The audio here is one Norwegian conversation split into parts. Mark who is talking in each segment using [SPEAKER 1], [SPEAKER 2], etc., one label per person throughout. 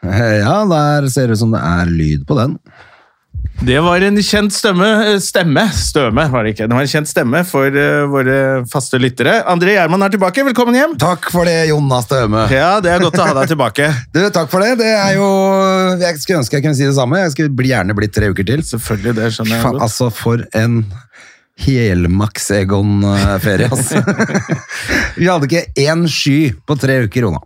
[SPEAKER 1] Ja, der ser det ut som det er lyd på den.
[SPEAKER 2] Det var en kjent stemme eh, Stemme, støme var det ikke. Det var en kjent stemme for eh, våre faste lyttere. André Gjerman er tilbake. Velkommen hjem!
[SPEAKER 1] Takk for det, Jonas Døme.
[SPEAKER 2] Ja, det er godt å ha deg tilbake.
[SPEAKER 1] Du, takk for det. Det er jo Jeg skulle ønske jeg kunne si det samme. Jeg skulle bli, gjerne blitt tre uker til.
[SPEAKER 2] Selvfølgelig, det skjønner jeg
[SPEAKER 1] Faen,
[SPEAKER 2] godt.
[SPEAKER 1] altså, for en helmaks Egon-ferie, altså. Vi hadde ikke én sky på tre uker, Jona.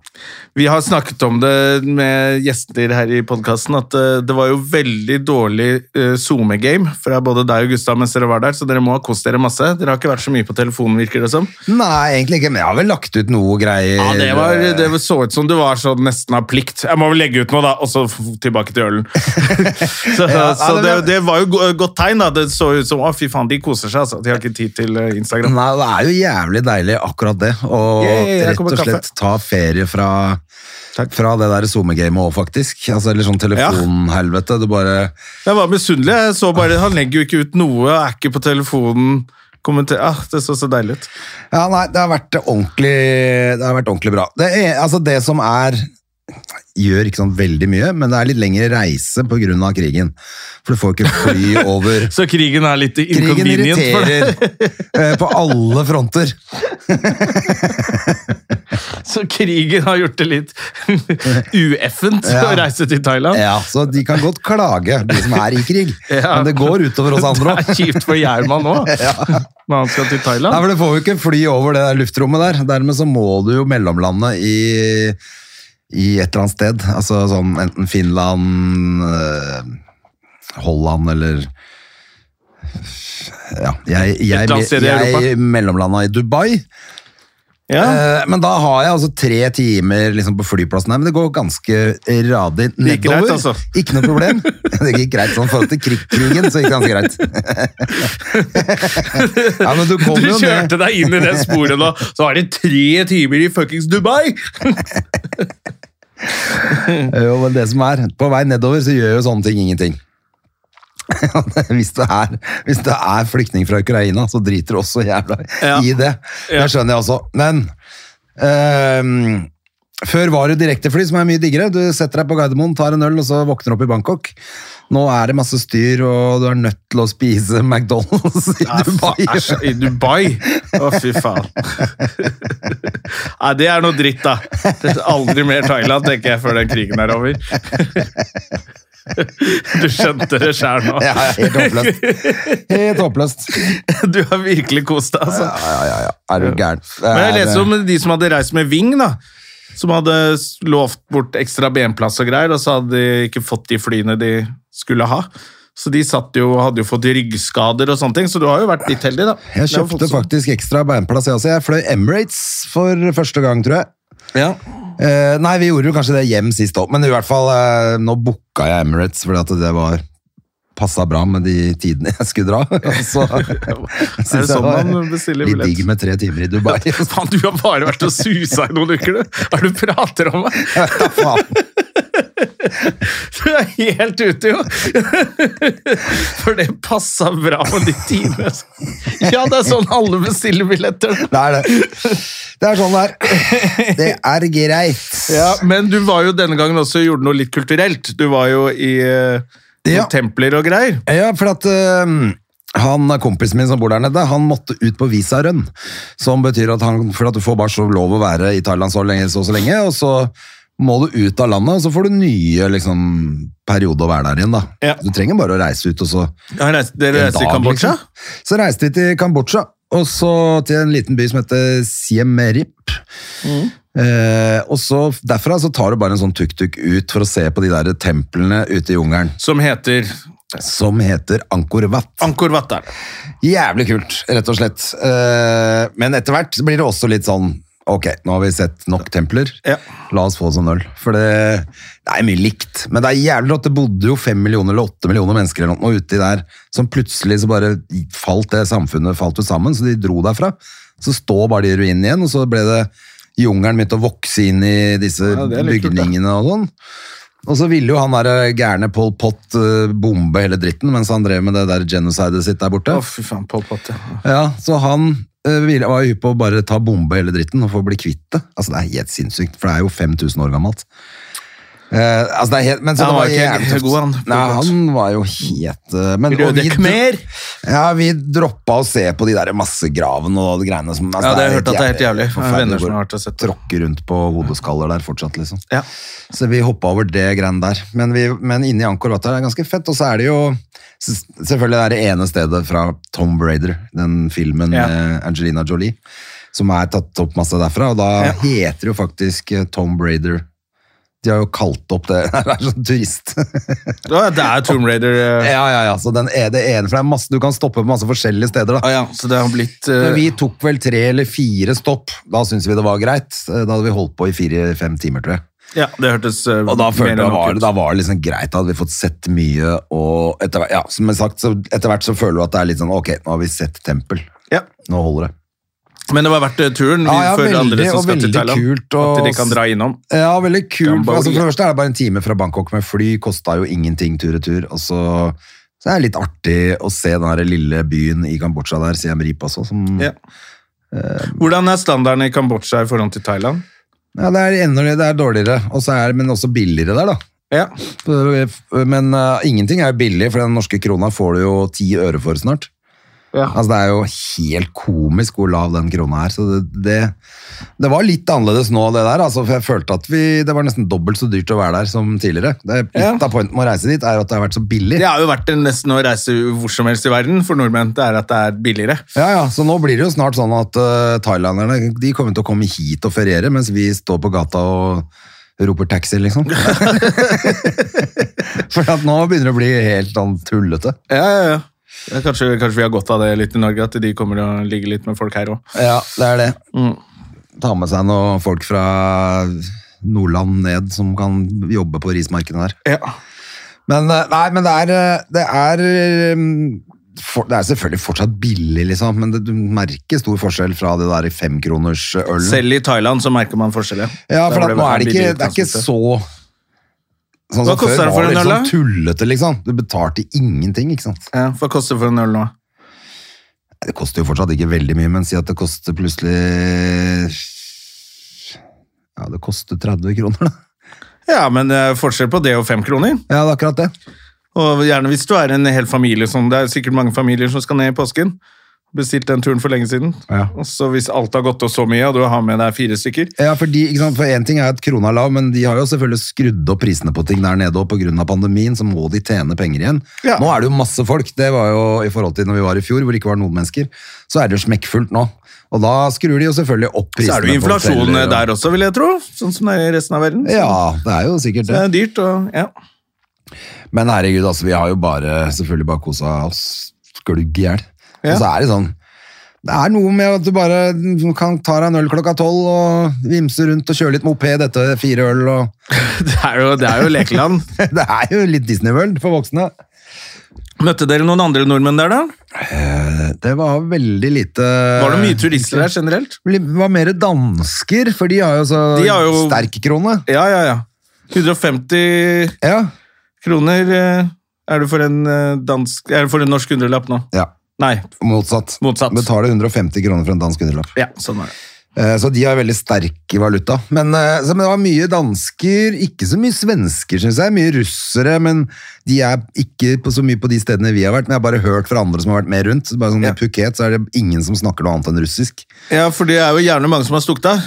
[SPEAKER 2] Vi har snakket om det med gjester her i podkasten, at eh, det var jo veldig dårlig eh, SoMe-game fra både deg og Gustav mens dere var der, så dere må ha kost dere masse. Dere har ikke vært så mye på telefonen, virker det som.
[SPEAKER 1] Nei, egentlig ikke, men jeg har vel lagt ut noe greier.
[SPEAKER 2] Ja, det, var, det så ut som du var sånn nesten av plikt. Jeg må vel legge ut noe, da, og så f- tilbake til ølen. så
[SPEAKER 1] Ja,
[SPEAKER 2] så
[SPEAKER 1] ja,
[SPEAKER 2] det,
[SPEAKER 1] det-
[SPEAKER 2] det var jo go- godt tegn, da. Det så ut som å, fy faen, de koser seg, altså. De har ikke tid til eh, Instagram.
[SPEAKER 1] Nei, det er jo jævlig deilig akkurat det. Å
[SPEAKER 2] Yay, her
[SPEAKER 1] rett
[SPEAKER 2] kommer
[SPEAKER 1] og slett ta ferie fra, fra det der SoMe-gamet òg, faktisk. Altså, eller sånn telefonhelvete. Du bare
[SPEAKER 2] Jeg var misunnelig. Jeg så bare Han legger jo ikke ut noe, er ikke på telefonen. Kommenter. Ah, det så så deilig ut.
[SPEAKER 1] Ja, nei, det har vært ordentlig, det har vært ordentlig bra. Det, er, altså, det som er Gjør ikke sånn veldig mye, men det er litt lengre reise pga. krigen. For du får ikke fly over
[SPEAKER 2] Så krigen er litt
[SPEAKER 1] Krigen
[SPEAKER 2] inconvenient for deg.
[SPEAKER 1] irriterer eh, på alle fronter.
[SPEAKER 2] Så krigen har gjort det litt ueffent å
[SPEAKER 1] Ja.
[SPEAKER 2] reise til Thailand.
[SPEAKER 1] Ja, så de kan godt klage, de som er i krig.
[SPEAKER 2] Ja.
[SPEAKER 1] Men det går utover oss andre
[SPEAKER 2] Det
[SPEAKER 1] òg.
[SPEAKER 2] er kjipt for Gjerman òg, når han skal til Thailand.
[SPEAKER 1] Nei, for Du får jo ikke fly over det der luftrommet der. Dermed så må du jo mellomlande i, i et eller annet sted. Altså sånn enten Finland, eh, Holland eller Ja, jeg,
[SPEAKER 2] Et
[SPEAKER 1] jeg,
[SPEAKER 2] eller annet sted i
[SPEAKER 1] jeg,
[SPEAKER 2] Europa.
[SPEAKER 1] mellomlanda i Dubai.
[SPEAKER 2] Ja.
[SPEAKER 1] Eh, Men da har jeg altså tre timer liksom på flyplassen her, men det går ganske radig nedover.
[SPEAKER 2] gikk greit, altså.
[SPEAKER 1] Ikke noe problem. Det gikk greit sånn i forhold til krig- krigen, så gikk det ganske greit. ja, men du
[SPEAKER 2] Du
[SPEAKER 1] kommer jo ned.
[SPEAKER 2] kjørte deg inn i det sporet nå, så er det tre timer i fuckings Dubai!
[SPEAKER 1] Jo, men Eh, det som er, på vei nedover så gjør jo sånne ting ingenting. hvis, det er, hvis det er flyktning fra Ukraina, så driter du også jævla
[SPEAKER 2] Ja.
[SPEAKER 1] i det.
[SPEAKER 2] Ja.
[SPEAKER 1] Det skjønner jeg også. Men ehm, før var det direktefly, som er mye diggere. Du setter deg på Gardermoen, tar en øl, og så våkner du opp i Bangkok. Nå er det masse styr, og du er nødt til å spise McDonald's i Dubai.
[SPEAKER 2] Æsj, I Dubai? Å, fy faen. Nei, det er noe dritt, da. Det er aldri mer Thailand, tenker jeg, før den krigen er over. Du skjønte det sjæl nå.
[SPEAKER 1] Ja, ja, helt håpløst. Helt håpløst.
[SPEAKER 2] Du har virkelig kost deg, altså.
[SPEAKER 1] Ja, ja, ja. Er du gæren?
[SPEAKER 2] Men jeg
[SPEAKER 1] Det er-
[SPEAKER 2] leser om de som hadde reist med Ving, da. Som hadde s- lovt bort ekstra benplass og greier, og så hadde de ikke fått de flyene de skulle ha. Så de satt jo, hadde jo fått ryggskader og sånne ting, så du har jo vært litt heldig, da.
[SPEAKER 1] Jeg
[SPEAKER 2] Det er jo folk
[SPEAKER 1] kjøpte
[SPEAKER 2] som-
[SPEAKER 1] faktisk ekstra beinplass. Jeg, også. jeg fløy Emirates for første gang, tror jeg.
[SPEAKER 2] Ja.
[SPEAKER 1] Eh, nei, vi gjorde jo kanskje det hjem sist òg, men i hvert fall eh, nå booka jeg Emirates fordi at det var passa bra med de tidene jeg skulle dra. Og så
[SPEAKER 2] Er
[SPEAKER 1] synes
[SPEAKER 2] det
[SPEAKER 1] jeg
[SPEAKER 2] sånn
[SPEAKER 1] var
[SPEAKER 2] man bestiller
[SPEAKER 1] Litt digg
[SPEAKER 2] billett?
[SPEAKER 1] med tre timer i Dubai.
[SPEAKER 2] Faen, du har bare vært og susa i noen uker, du! Hva er det du prater om? da?
[SPEAKER 1] Ja, faen.
[SPEAKER 2] Du er helt ute, jo! For det passa bra med de timene. Ja, det er sånn alle bestiller billetter.
[SPEAKER 1] Det er det. Det er sånn det er. Det er greit.
[SPEAKER 2] Ja, men du var jo denne gangen også og gjorde noe litt kulturelt. Du var jo i eh, noen
[SPEAKER 1] Ja.
[SPEAKER 2] templer og greier.
[SPEAKER 1] Ja, for at eh, han kompisen min som bor der nede, han måtte ut på visarønn. Som betyr at han, for at du får bare så lov å være i Thailand så lenge, så, og så lenge, og så må du ut av landet, og så får du nye liksom, periode å være der igjen. Da.
[SPEAKER 2] Ja.
[SPEAKER 1] Du trenger bare å reise ut, og så
[SPEAKER 2] dere
[SPEAKER 1] en
[SPEAKER 2] reiste til
[SPEAKER 1] dag,
[SPEAKER 2] Kambodsja?
[SPEAKER 1] liksom. Så reiste vi til Kambodsja, og så til en liten by som heter Siem Reap.
[SPEAKER 2] Mm.
[SPEAKER 1] Eh, og så derfra så tar du bare en sånn tuk-tuk ut for å se på de der templene ute i jungelen,
[SPEAKER 2] Som heter
[SPEAKER 1] som heter Angkor Wat.
[SPEAKER 2] Angkor Wat. er det.
[SPEAKER 1] Jævlig kult, rett og slett. Eh, Men etter hvert så blir det også litt sånn Ok, nå har vi sett nok templer.
[SPEAKER 2] Ja.
[SPEAKER 1] La oss få oss en øl. For det, det er mye likt. Men det er jævlig rått. Det bodde jo fem millioner eller åtte millioner mennesker eller noe uti der, som plutselig så bare falt det samfunnet falt jo sammen, så de dro derfra. Så står bare de i ruinene igjen, og så ble det jungelen begynte å vokse inn i disse
[SPEAKER 2] Ja, det er litt kult, da.
[SPEAKER 1] bygningene og sånn. Og så ville jo han der eh, gærne Pol Pot eh, bombe hele dritten mens han drev med det der genocidet sitt der borte.
[SPEAKER 2] Å, fy faen, Pol Pot, ja.
[SPEAKER 1] Ja, så han eh, ville- var jo hypp på å bare ta bombe hele dritten og få bli kvitt det. Altså, det er helt sinnssykt, for det er jo 5000 år gammelt. Eh, altså, det er helt, men så det
[SPEAKER 2] Ja, han
[SPEAKER 1] var
[SPEAKER 2] var ikke
[SPEAKER 1] jævlig
[SPEAKER 2] helt
[SPEAKER 1] tøft.
[SPEAKER 2] god, han.
[SPEAKER 1] Nei, han var jo helt eh, men, og
[SPEAKER 2] Røde
[SPEAKER 1] vi-
[SPEAKER 2] Khmer!
[SPEAKER 1] Ja, vi droppa å se på de der massegravene og de greiene som altså,
[SPEAKER 2] Ja, det har jeg
[SPEAKER 1] helt
[SPEAKER 2] hørt at det er helt jævlig. Jeg har
[SPEAKER 1] forferdelig
[SPEAKER 2] venner som har
[SPEAKER 1] hvor-
[SPEAKER 2] vært og sett det.
[SPEAKER 1] Tråkker rundt på hodeskaller der fortsatt, liksom.
[SPEAKER 2] Ja.
[SPEAKER 1] Så vi hoppa over det greiene der. Men, vi, men inni Angkor Wat er det ganske fett, og så er det jo s- Selvfølgelig det er det ene stedet fra Tom Brader, den filmen
[SPEAKER 2] Ja.
[SPEAKER 1] med Angelina Jolie, som er tatt opp masse derfra, og da
[SPEAKER 2] Ja.
[SPEAKER 1] heter jo faktisk eh, Tom Brader De har jo kalt opp det Det er sånn turist.
[SPEAKER 2] Å, ja, det er Tomb Raider. eh.
[SPEAKER 1] ja, ja, ja. Så den er det ene, for det er masse, du kan stoppe på masse forskjellige steder, da.
[SPEAKER 2] Å, ja, så det har blitt eh,
[SPEAKER 1] Men vi tok vel tre eller fire stopp. Da syntes vi det var greit. Eh, Da hadde vi holdt på i fire-fem timer, tror jeg.
[SPEAKER 2] Ja, det hørtes eh,
[SPEAKER 1] Og da
[SPEAKER 2] mer
[SPEAKER 1] følte
[SPEAKER 2] enn
[SPEAKER 1] jeg
[SPEAKER 2] nok
[SPEAKER 1] var,
[SPEAKER 2] ut.
[SPEAKER 1] da var det liksom greit, da hadde vi fått sett mye, og etter, hvert- ja, som jeg sagt, så etter hvert så føler du at det er litt sånn, ok, nå har vi sett tempel,
[SPEAKER 2] Ja.
[SPEAKER 1] nå holder det.
[SPEAKER 2] Men det var verdt eh, turen.
[SPEAKER 1] Ja, ja,
[SPEAKER 2] for
[SPEAKER 1] veldig,
[SPEAKER 2] andre som
[SPEAKER 1] og
[SPEAKER 2] skal til
[SPEAKER 1] veldig
[SPEAKER 2] Thailand.
[SPEAKER 1] kult, og-
[SPEAKER 2] At de kan dra innom.
[SPEAKER 1] Ja, veldig kult.
[SPEAKER 2] Gambaoui.
[SPEAKER 1] Altså, for det første er det bare en time fra Bangkok med fly, kostet jo ingenting tur-retur, og så, så er det litt artig å se den her lille byen i Kambodsja der, Siem Reap også, som...
[SPEAKER 2] Ja. Hvordan er standarden i Kambodsja i forhold til Thailand?
[SPEAKER 1] Ja, det er enda det er dårligere, og så er det, men også billigere der da.
[SPEAKER 2] Ja.
[SPEAKER 1] Men eh, ingenting er jo billig, for den norske krona får du jo 10 øre for snart.
[SPEAKER 2] Ja.
[SPEAKER 1] Altså, det er jo helt komisk hvor lav den krona er. Så det, det, det var litt annerledes nå, det der. Altså, for jeg følte at vi, det var nesten dobbelt så dyrt å være der som tidligere. Det er
[SPEAKER 2] Ja.
[SPEAKER 1] Litt av pointen med å reise dit er jo at det har vært så billig.
[SPEAKER 2] Det har jo vært en nesten å reise hvor som helst i verden for nordmenn. Det er at det er billigere.
[SPEAKER 1] Ja, ja, så nå blir det jo snart sånn at eh, thailanderne de kommer til å komme hit og feriere, mens vi står på gata og roper taxi, liksom. For at nå begynner det å bli helt sånn tullete.
[SPEAKER 2] Ja, ja, ja. Ja, Kanskje, kanskje vi har godt av det litt i Norge, at de kommer og ligger litt med folk her òg.
[SPEAKER 1] Ja, det er det.
[SPEAKER 2] Mm.
[SPEAKER 1] Ta med seg noen folk fra Nordland ned som kan jobbe på rismarkene der.
[SPEAKER 2] Ja.
[SPEAKER 1] Men, eh, nei, men det er, eh, det er eh, for, det er selvfølgelig fortsatt billig, liksom, men det, du merker stor forskjell fra det der i femkroners øl.
[SPEAKER 2] Selv i Thailand så merker man forskjeller.
[SPEAKER 1] Ja,
[SPEAKER 2] Der
[SPEAKER 1] for at
[SPEAKER 2] ble
[SPEAKER 1] nå er det ikke,
[SPEAKER 2] billigere
[SPEAKER 1] det er ikke
[SPEAKER 2] transport.
[SPEAKER 1] så Sånn
[SPEAKER 2] Hva koster det for
[SPEAKER 1] var
[SPEAKER 2] en
[SPEAKER 1] litt sånn
[SPEAKER 2] øl, da?
[SPEAKER 1] tullete, liksom. Du betalte ingenting, ikke sant?
[SPEAKER 2] ja, Hva koster det for en øl nå?
[SPEAKER 1] Nei, Det koster jo fortsatt ikke veldig mye, men si at det koster plutselig Ja, det koster 30 kroner, da.
[SPEAKER 2] Ja, men det er forskjell på det og fem kroner.
[SPEAKER 1] Ja, det er akkurat det.
[SPEAKER 2] Og gjerne hvis du er en hel familie som Det er sikkert mange familier som skal ned i påsken. Bestilt den turen for lenge siden.
[SPEAKER 1] Ja.
[SPEAKER 2] Og så hvis alt har gått opp så mye, og du har med deg fire stykker
[SPEAKER 1] Ja, for de, ikke sant? For én ting er at krona er lav, men de har jo selvfølgelig skrudd opp prisene på ting der nede, og pga. pandemien så må de tjene penger igjen.
[SPEAKER 2] Ja.
[SPEAKER 1] Nå er det jo masse folk. Det var jo i forhold til når vi var i fjor, hvor det ikke var noen mennesker. Så er det jo smekkfullt nå. Og da skrur de jo selvfølgelig opp prisene.
[SPEAKER 2] Så er det jo
[SPEAKER 1] på
[SPEAKER 2] inflasjon
[SPEAKER 1] hoteller og-
[SPEAKER 2] der også, vil jeg tro. Sånn som det er i resten av verden. Så
[SPEAKER 1] Ja, det er jo sikkert
[SPEAKER 2] Det
[SPEAKER 1] det.
[SPEAKER 2] er dyrt, og ja.
[SPEAKER 1] Men herregud, altså, vi har jo bare, selvfølgelig bare kosa oss glugg i hjel.
[SPEAKER 2] Ja.
[SPEAKER 1] Og så er det sånn Det er noe med at du bare kan ta deg en øl klokka tolv og vimse rundt og kjøre litt moped etter fire øl og
[SPEAKER 2] Det er jo, det er jo lekeland.
[SPEAKER 1] Det er jo litt Disney World for voksne.
[SPEAKER 2] Møtte dere noen andre nordmenn der, da?
[SPEAKER 1] Eh, Det var veldig lite
[SPEAKER 2] Var det mye turister der generelt?
[SPEAKER 1] Det var mer dansker, for de har jo så
[SPEAKER 2] De har jo-
[SPEAKER 1] sterk krone.
[SPEAKER 2] Ja, ja, ja. 150
[SPEAKER 1] Ja.
[SPEAKER 2] kroner eh, er du for en eh, dansk Er du for en norsk hundrelapp nå?
[SPEAKER 1] ja.
[SPEAKER 2] Nei.
[SPEAKER 1] Motsatt.
[SPEAKER 2] Motsatt.
[SPEAKER 1] Betaler 150 kroner for en dansk hundrelapp.
[SPEAKER 2] Ja, sånn er det.
[SPEAKER 1] Eh, Så de har veldig sterk valuta. Men, eh, så, men det var mye dansker, ikke så mye svensker, synes jeg. Mye russere, men de er ikke på, så mye på de stedene vi har vært. Men jeg har bare hørt fra andre som har vært med rundt. Så Bare sånn
[SPEAKER 2] Ja.
[SPEAKER 1] I Phuket så er det ingen som snakker noe annet enn russisk.
[SPEAKER 2] Ja, for det er jo gjerne mange som har stukket av.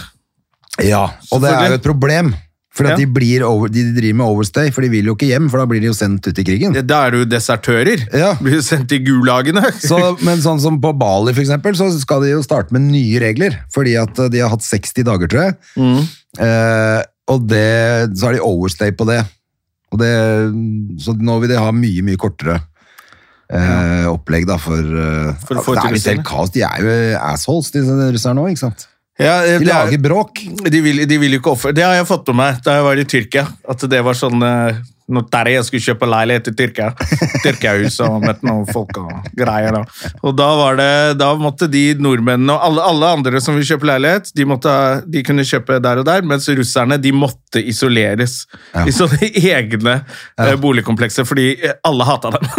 [SPEAKER 1] Ja, Og det er jo et problem. For
[SPEAKER 2] Ja.
[SPEAKER 1] de, blir over, de driver med overstay, for de vil jo ikke hjem, for da blir de jo sendt ut i krigen.
[SPEAKER 2] Da er du desertører.
[SPEAKER 1] Ja.
[SPEAKER 2] Blir sendt i gulagene.
[SPEAKER 1] Så, men sånn som på Bali for eksempel, så skal de jo starte med nye regler, fordi at eh, de har hatt 60 dager, tror jeg.
[SPEAKER 2] Mm.
[SPEAKER 1] Eh, og det, så har de overstay på det. Og det. Så nå vil de ha mye, mye kortere eh, opplegg da, for, eh,
[SPEAKER 2] For å få
[SPEAKER 1] det
[SPEAKER 2] til
[SPEAKER 1] er litt helt
[SPEAKER 2] russerne.
[SPEAKER 1] kaos. De er jo assholes, disse russerne nå, ikke sant?
[SPEAKER 2] Ja, eh,
[SPEAKER 1] De
[SPEAKER 2] det er-
[SPEAKER 1] lager bråk.
[SPEAKER 2] De vil, de vil jo ikke ofre Det har jeg fått med meg da jeg var i Tyrkia. At det var sånn eh, Når Terje skulle kjøpe leilighet i Tyrkia, Tyrkiahuset og møtte noen folk og greier da. Og da var det Da måtte de nordmennene og alle, alle andre som vil kjøpe leilighet, de, måtte, ha- de kunne kjøpe der og der, mens russerne de måtte isoleres i sånne egne eh, boligkomplekser fordi eh, alle hata dem.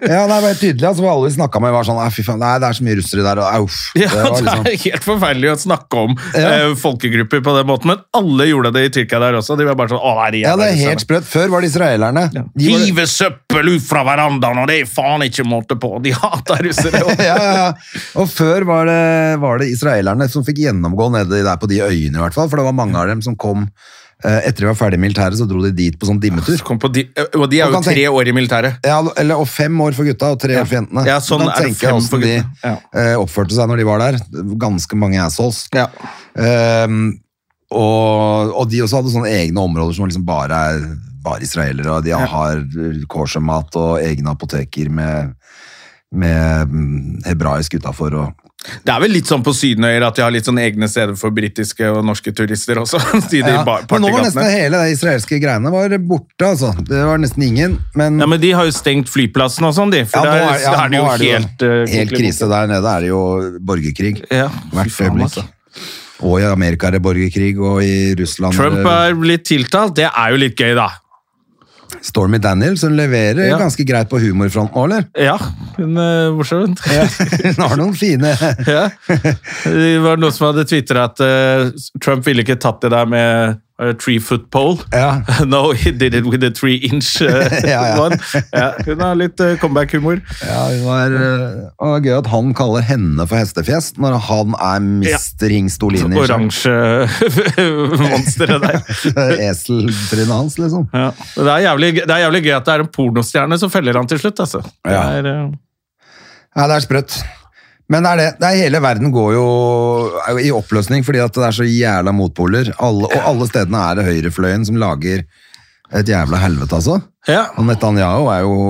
[SPEAKER 1] Ja, nei, det var helt tydelig, altså, for Alle vi snakka med, var sånn «Nei, fy faen, nei, det er så mye russere der. Og, uff,
[SPEAKER 2] Ja,
[SPEAKER 1] det var
[SPEAKER 2] det
[SPEAKER 1] liksom,
[SPEAKER 2] er helt forferdelig å snakke om eh,
[SPEAKER 1] Ja.
[SPEAKER 2] folkegrupper på den måten, men alle gjorde det i Tyrkia der også. De var bare sånn, å nei, de
[SPEAKER 1] ja, det er
[SPEAKER 2] jævla
[SPEAKER 1] helt
[SPEAKER 2] russerne».
[SPEAKER 1] sprøtt. Før var det israelerne.
[SPEAKER 2] Ja.
[SPEAKER 1] De var-
[SPEAKER 2] Hive søppel ut fra verandaen, og det er faen ikke måte på! De hater russere! og-
[SPEAKER 1] ja, ja, ja. Og før var det, var det israelerne som fikk gjennomgå nede der på de øyene, i hvert fall. For det var mange av dem som kom eh, etter de var ferdig i militæret, så dro de dit på sånn dimmetur.
[SPEAKER 2] Kom på de, og de er
[SPEAKER 1] Man
[SPEAKER 2] jo
[SPEAKER 1] kan tenke-
[SPEAKER 2] tre år i militæret.
[SPEAKER 1] Ja, eller, og fem år for gutta og tre år for jentene.
[SPEAKER 2] Ja,
[SPEAKER 1] Du
[SPEAKER 2] sånn
[SPEAKER 1] kan
[SPEAKER 2] er det
[SPEAKER 1] tenke
[SPEAKER 2] fem
[SPEAKER 1] hvordan
[SPEAKER 2] for
[SPEAKER 1] de
[SPEAKER 2] gutta. Ja.
[SPEAKER 1] eh, oppførte seg når de var der. Ganske mange assholes.
[SPEAKER 2] Ja.
[SPEAKER 1] Ehm, og, og de også hadde sånne egne områder som liksom bare er bare israelere, og de har kosher-mat og egne apoteker med, med mm, hebraisk utafor. Og,
[SPEAKER 2] Det er vel litt sånn på Sydenøyer at de har litt sånn egne steder for britiske og norske turister også. De, de
[SPEAKER 1] Ja,
[SPEAKER 2] bar-
[SPEAKER 1] men nå var nesten
[SPEAKER 2] partygatene.
[SPEAKER 1] hele de israelske greiene var borte, altså. Det var nesten ingen, men,
[SPEAKER 2] Ja, men de har jo stengt flyplassen og sånn, de. For
[SPEAKER 1] Ja,
[SPEAKER 2] der,
[SPEAKER 1] nå er- ja,
[SPEAKER 2] der er det
[SPEAKER 1] nå
[SPEAKER 2] jo
[SPEAKER 1] er det jo
[SPEAKER 2] helt eh,
[SPEAKER 1] helt
[SPEAKER 2] konklusjon.
[SPEAKER 1] krise der nede. Er det jo borgerkrig
[SPEAKER 2] Ja, fy
[SPEAKER 1] hvert
[SPEAKER 2] faen,
[SPEAKER 1] øyeblikk.
[SPEAKER 2] altså.
[SPEAKER 1] Og i Amerika er det borgerkrig, og i Russland
[SPEAKER 2] Trump er blitt tiltalt, det er jo litt gøy, da.
[SPEAKER 1] Stormy Daniels, hun leverer
[SPEAKER 2] Ja.
[SPEAKER 1] ganske greit på humorfronten nå, eller?
[SPEAKER 2] Ja, hun er morsom.
[SPEAKER 1] Hun har noen fine
[SPEAKER 2] Ja. Det var noen som hadde twittret at eh, Trump ville ikke tatt det der med eh, three foot pole.
[SPEAKER 1] Ja.
[SPEAKER 2] No, he did it with a three inch eh,
[SPEAKER 1] Ja, ja.
[SPEAKER 2] one. Ja, hun har litt eh, comeback-humor.
[SPEAKER 1] Ja, hun var, øh, og det er gøy at han kaller henne for hestefjes, når han er mister Hingstolini.
[SPEAKER 2] Oransje monsteret der.
[SPEAKER 1] Eseltrynet hans, liksom.
[SPEAKER 2] Ja. Det, er jævlig, det er jævlig gøy at det er en pornostjerne som feller han til slutt. Altså. Det
[SPEAKER 1] Ja.
[SPEAKER 2] er, eh,
[SPEAKER 1] Ja, det er sprøtt. Men det er det. det er hele verden går jo er jo i oppløsning fordi at det er så jævla motpoler. Alle, og alle stedene er det høyrefløyen som lager et jævla helvete, altså.
[SPEAKER 2] ja.
[SPEAKER 1] Og Netanyahu er jo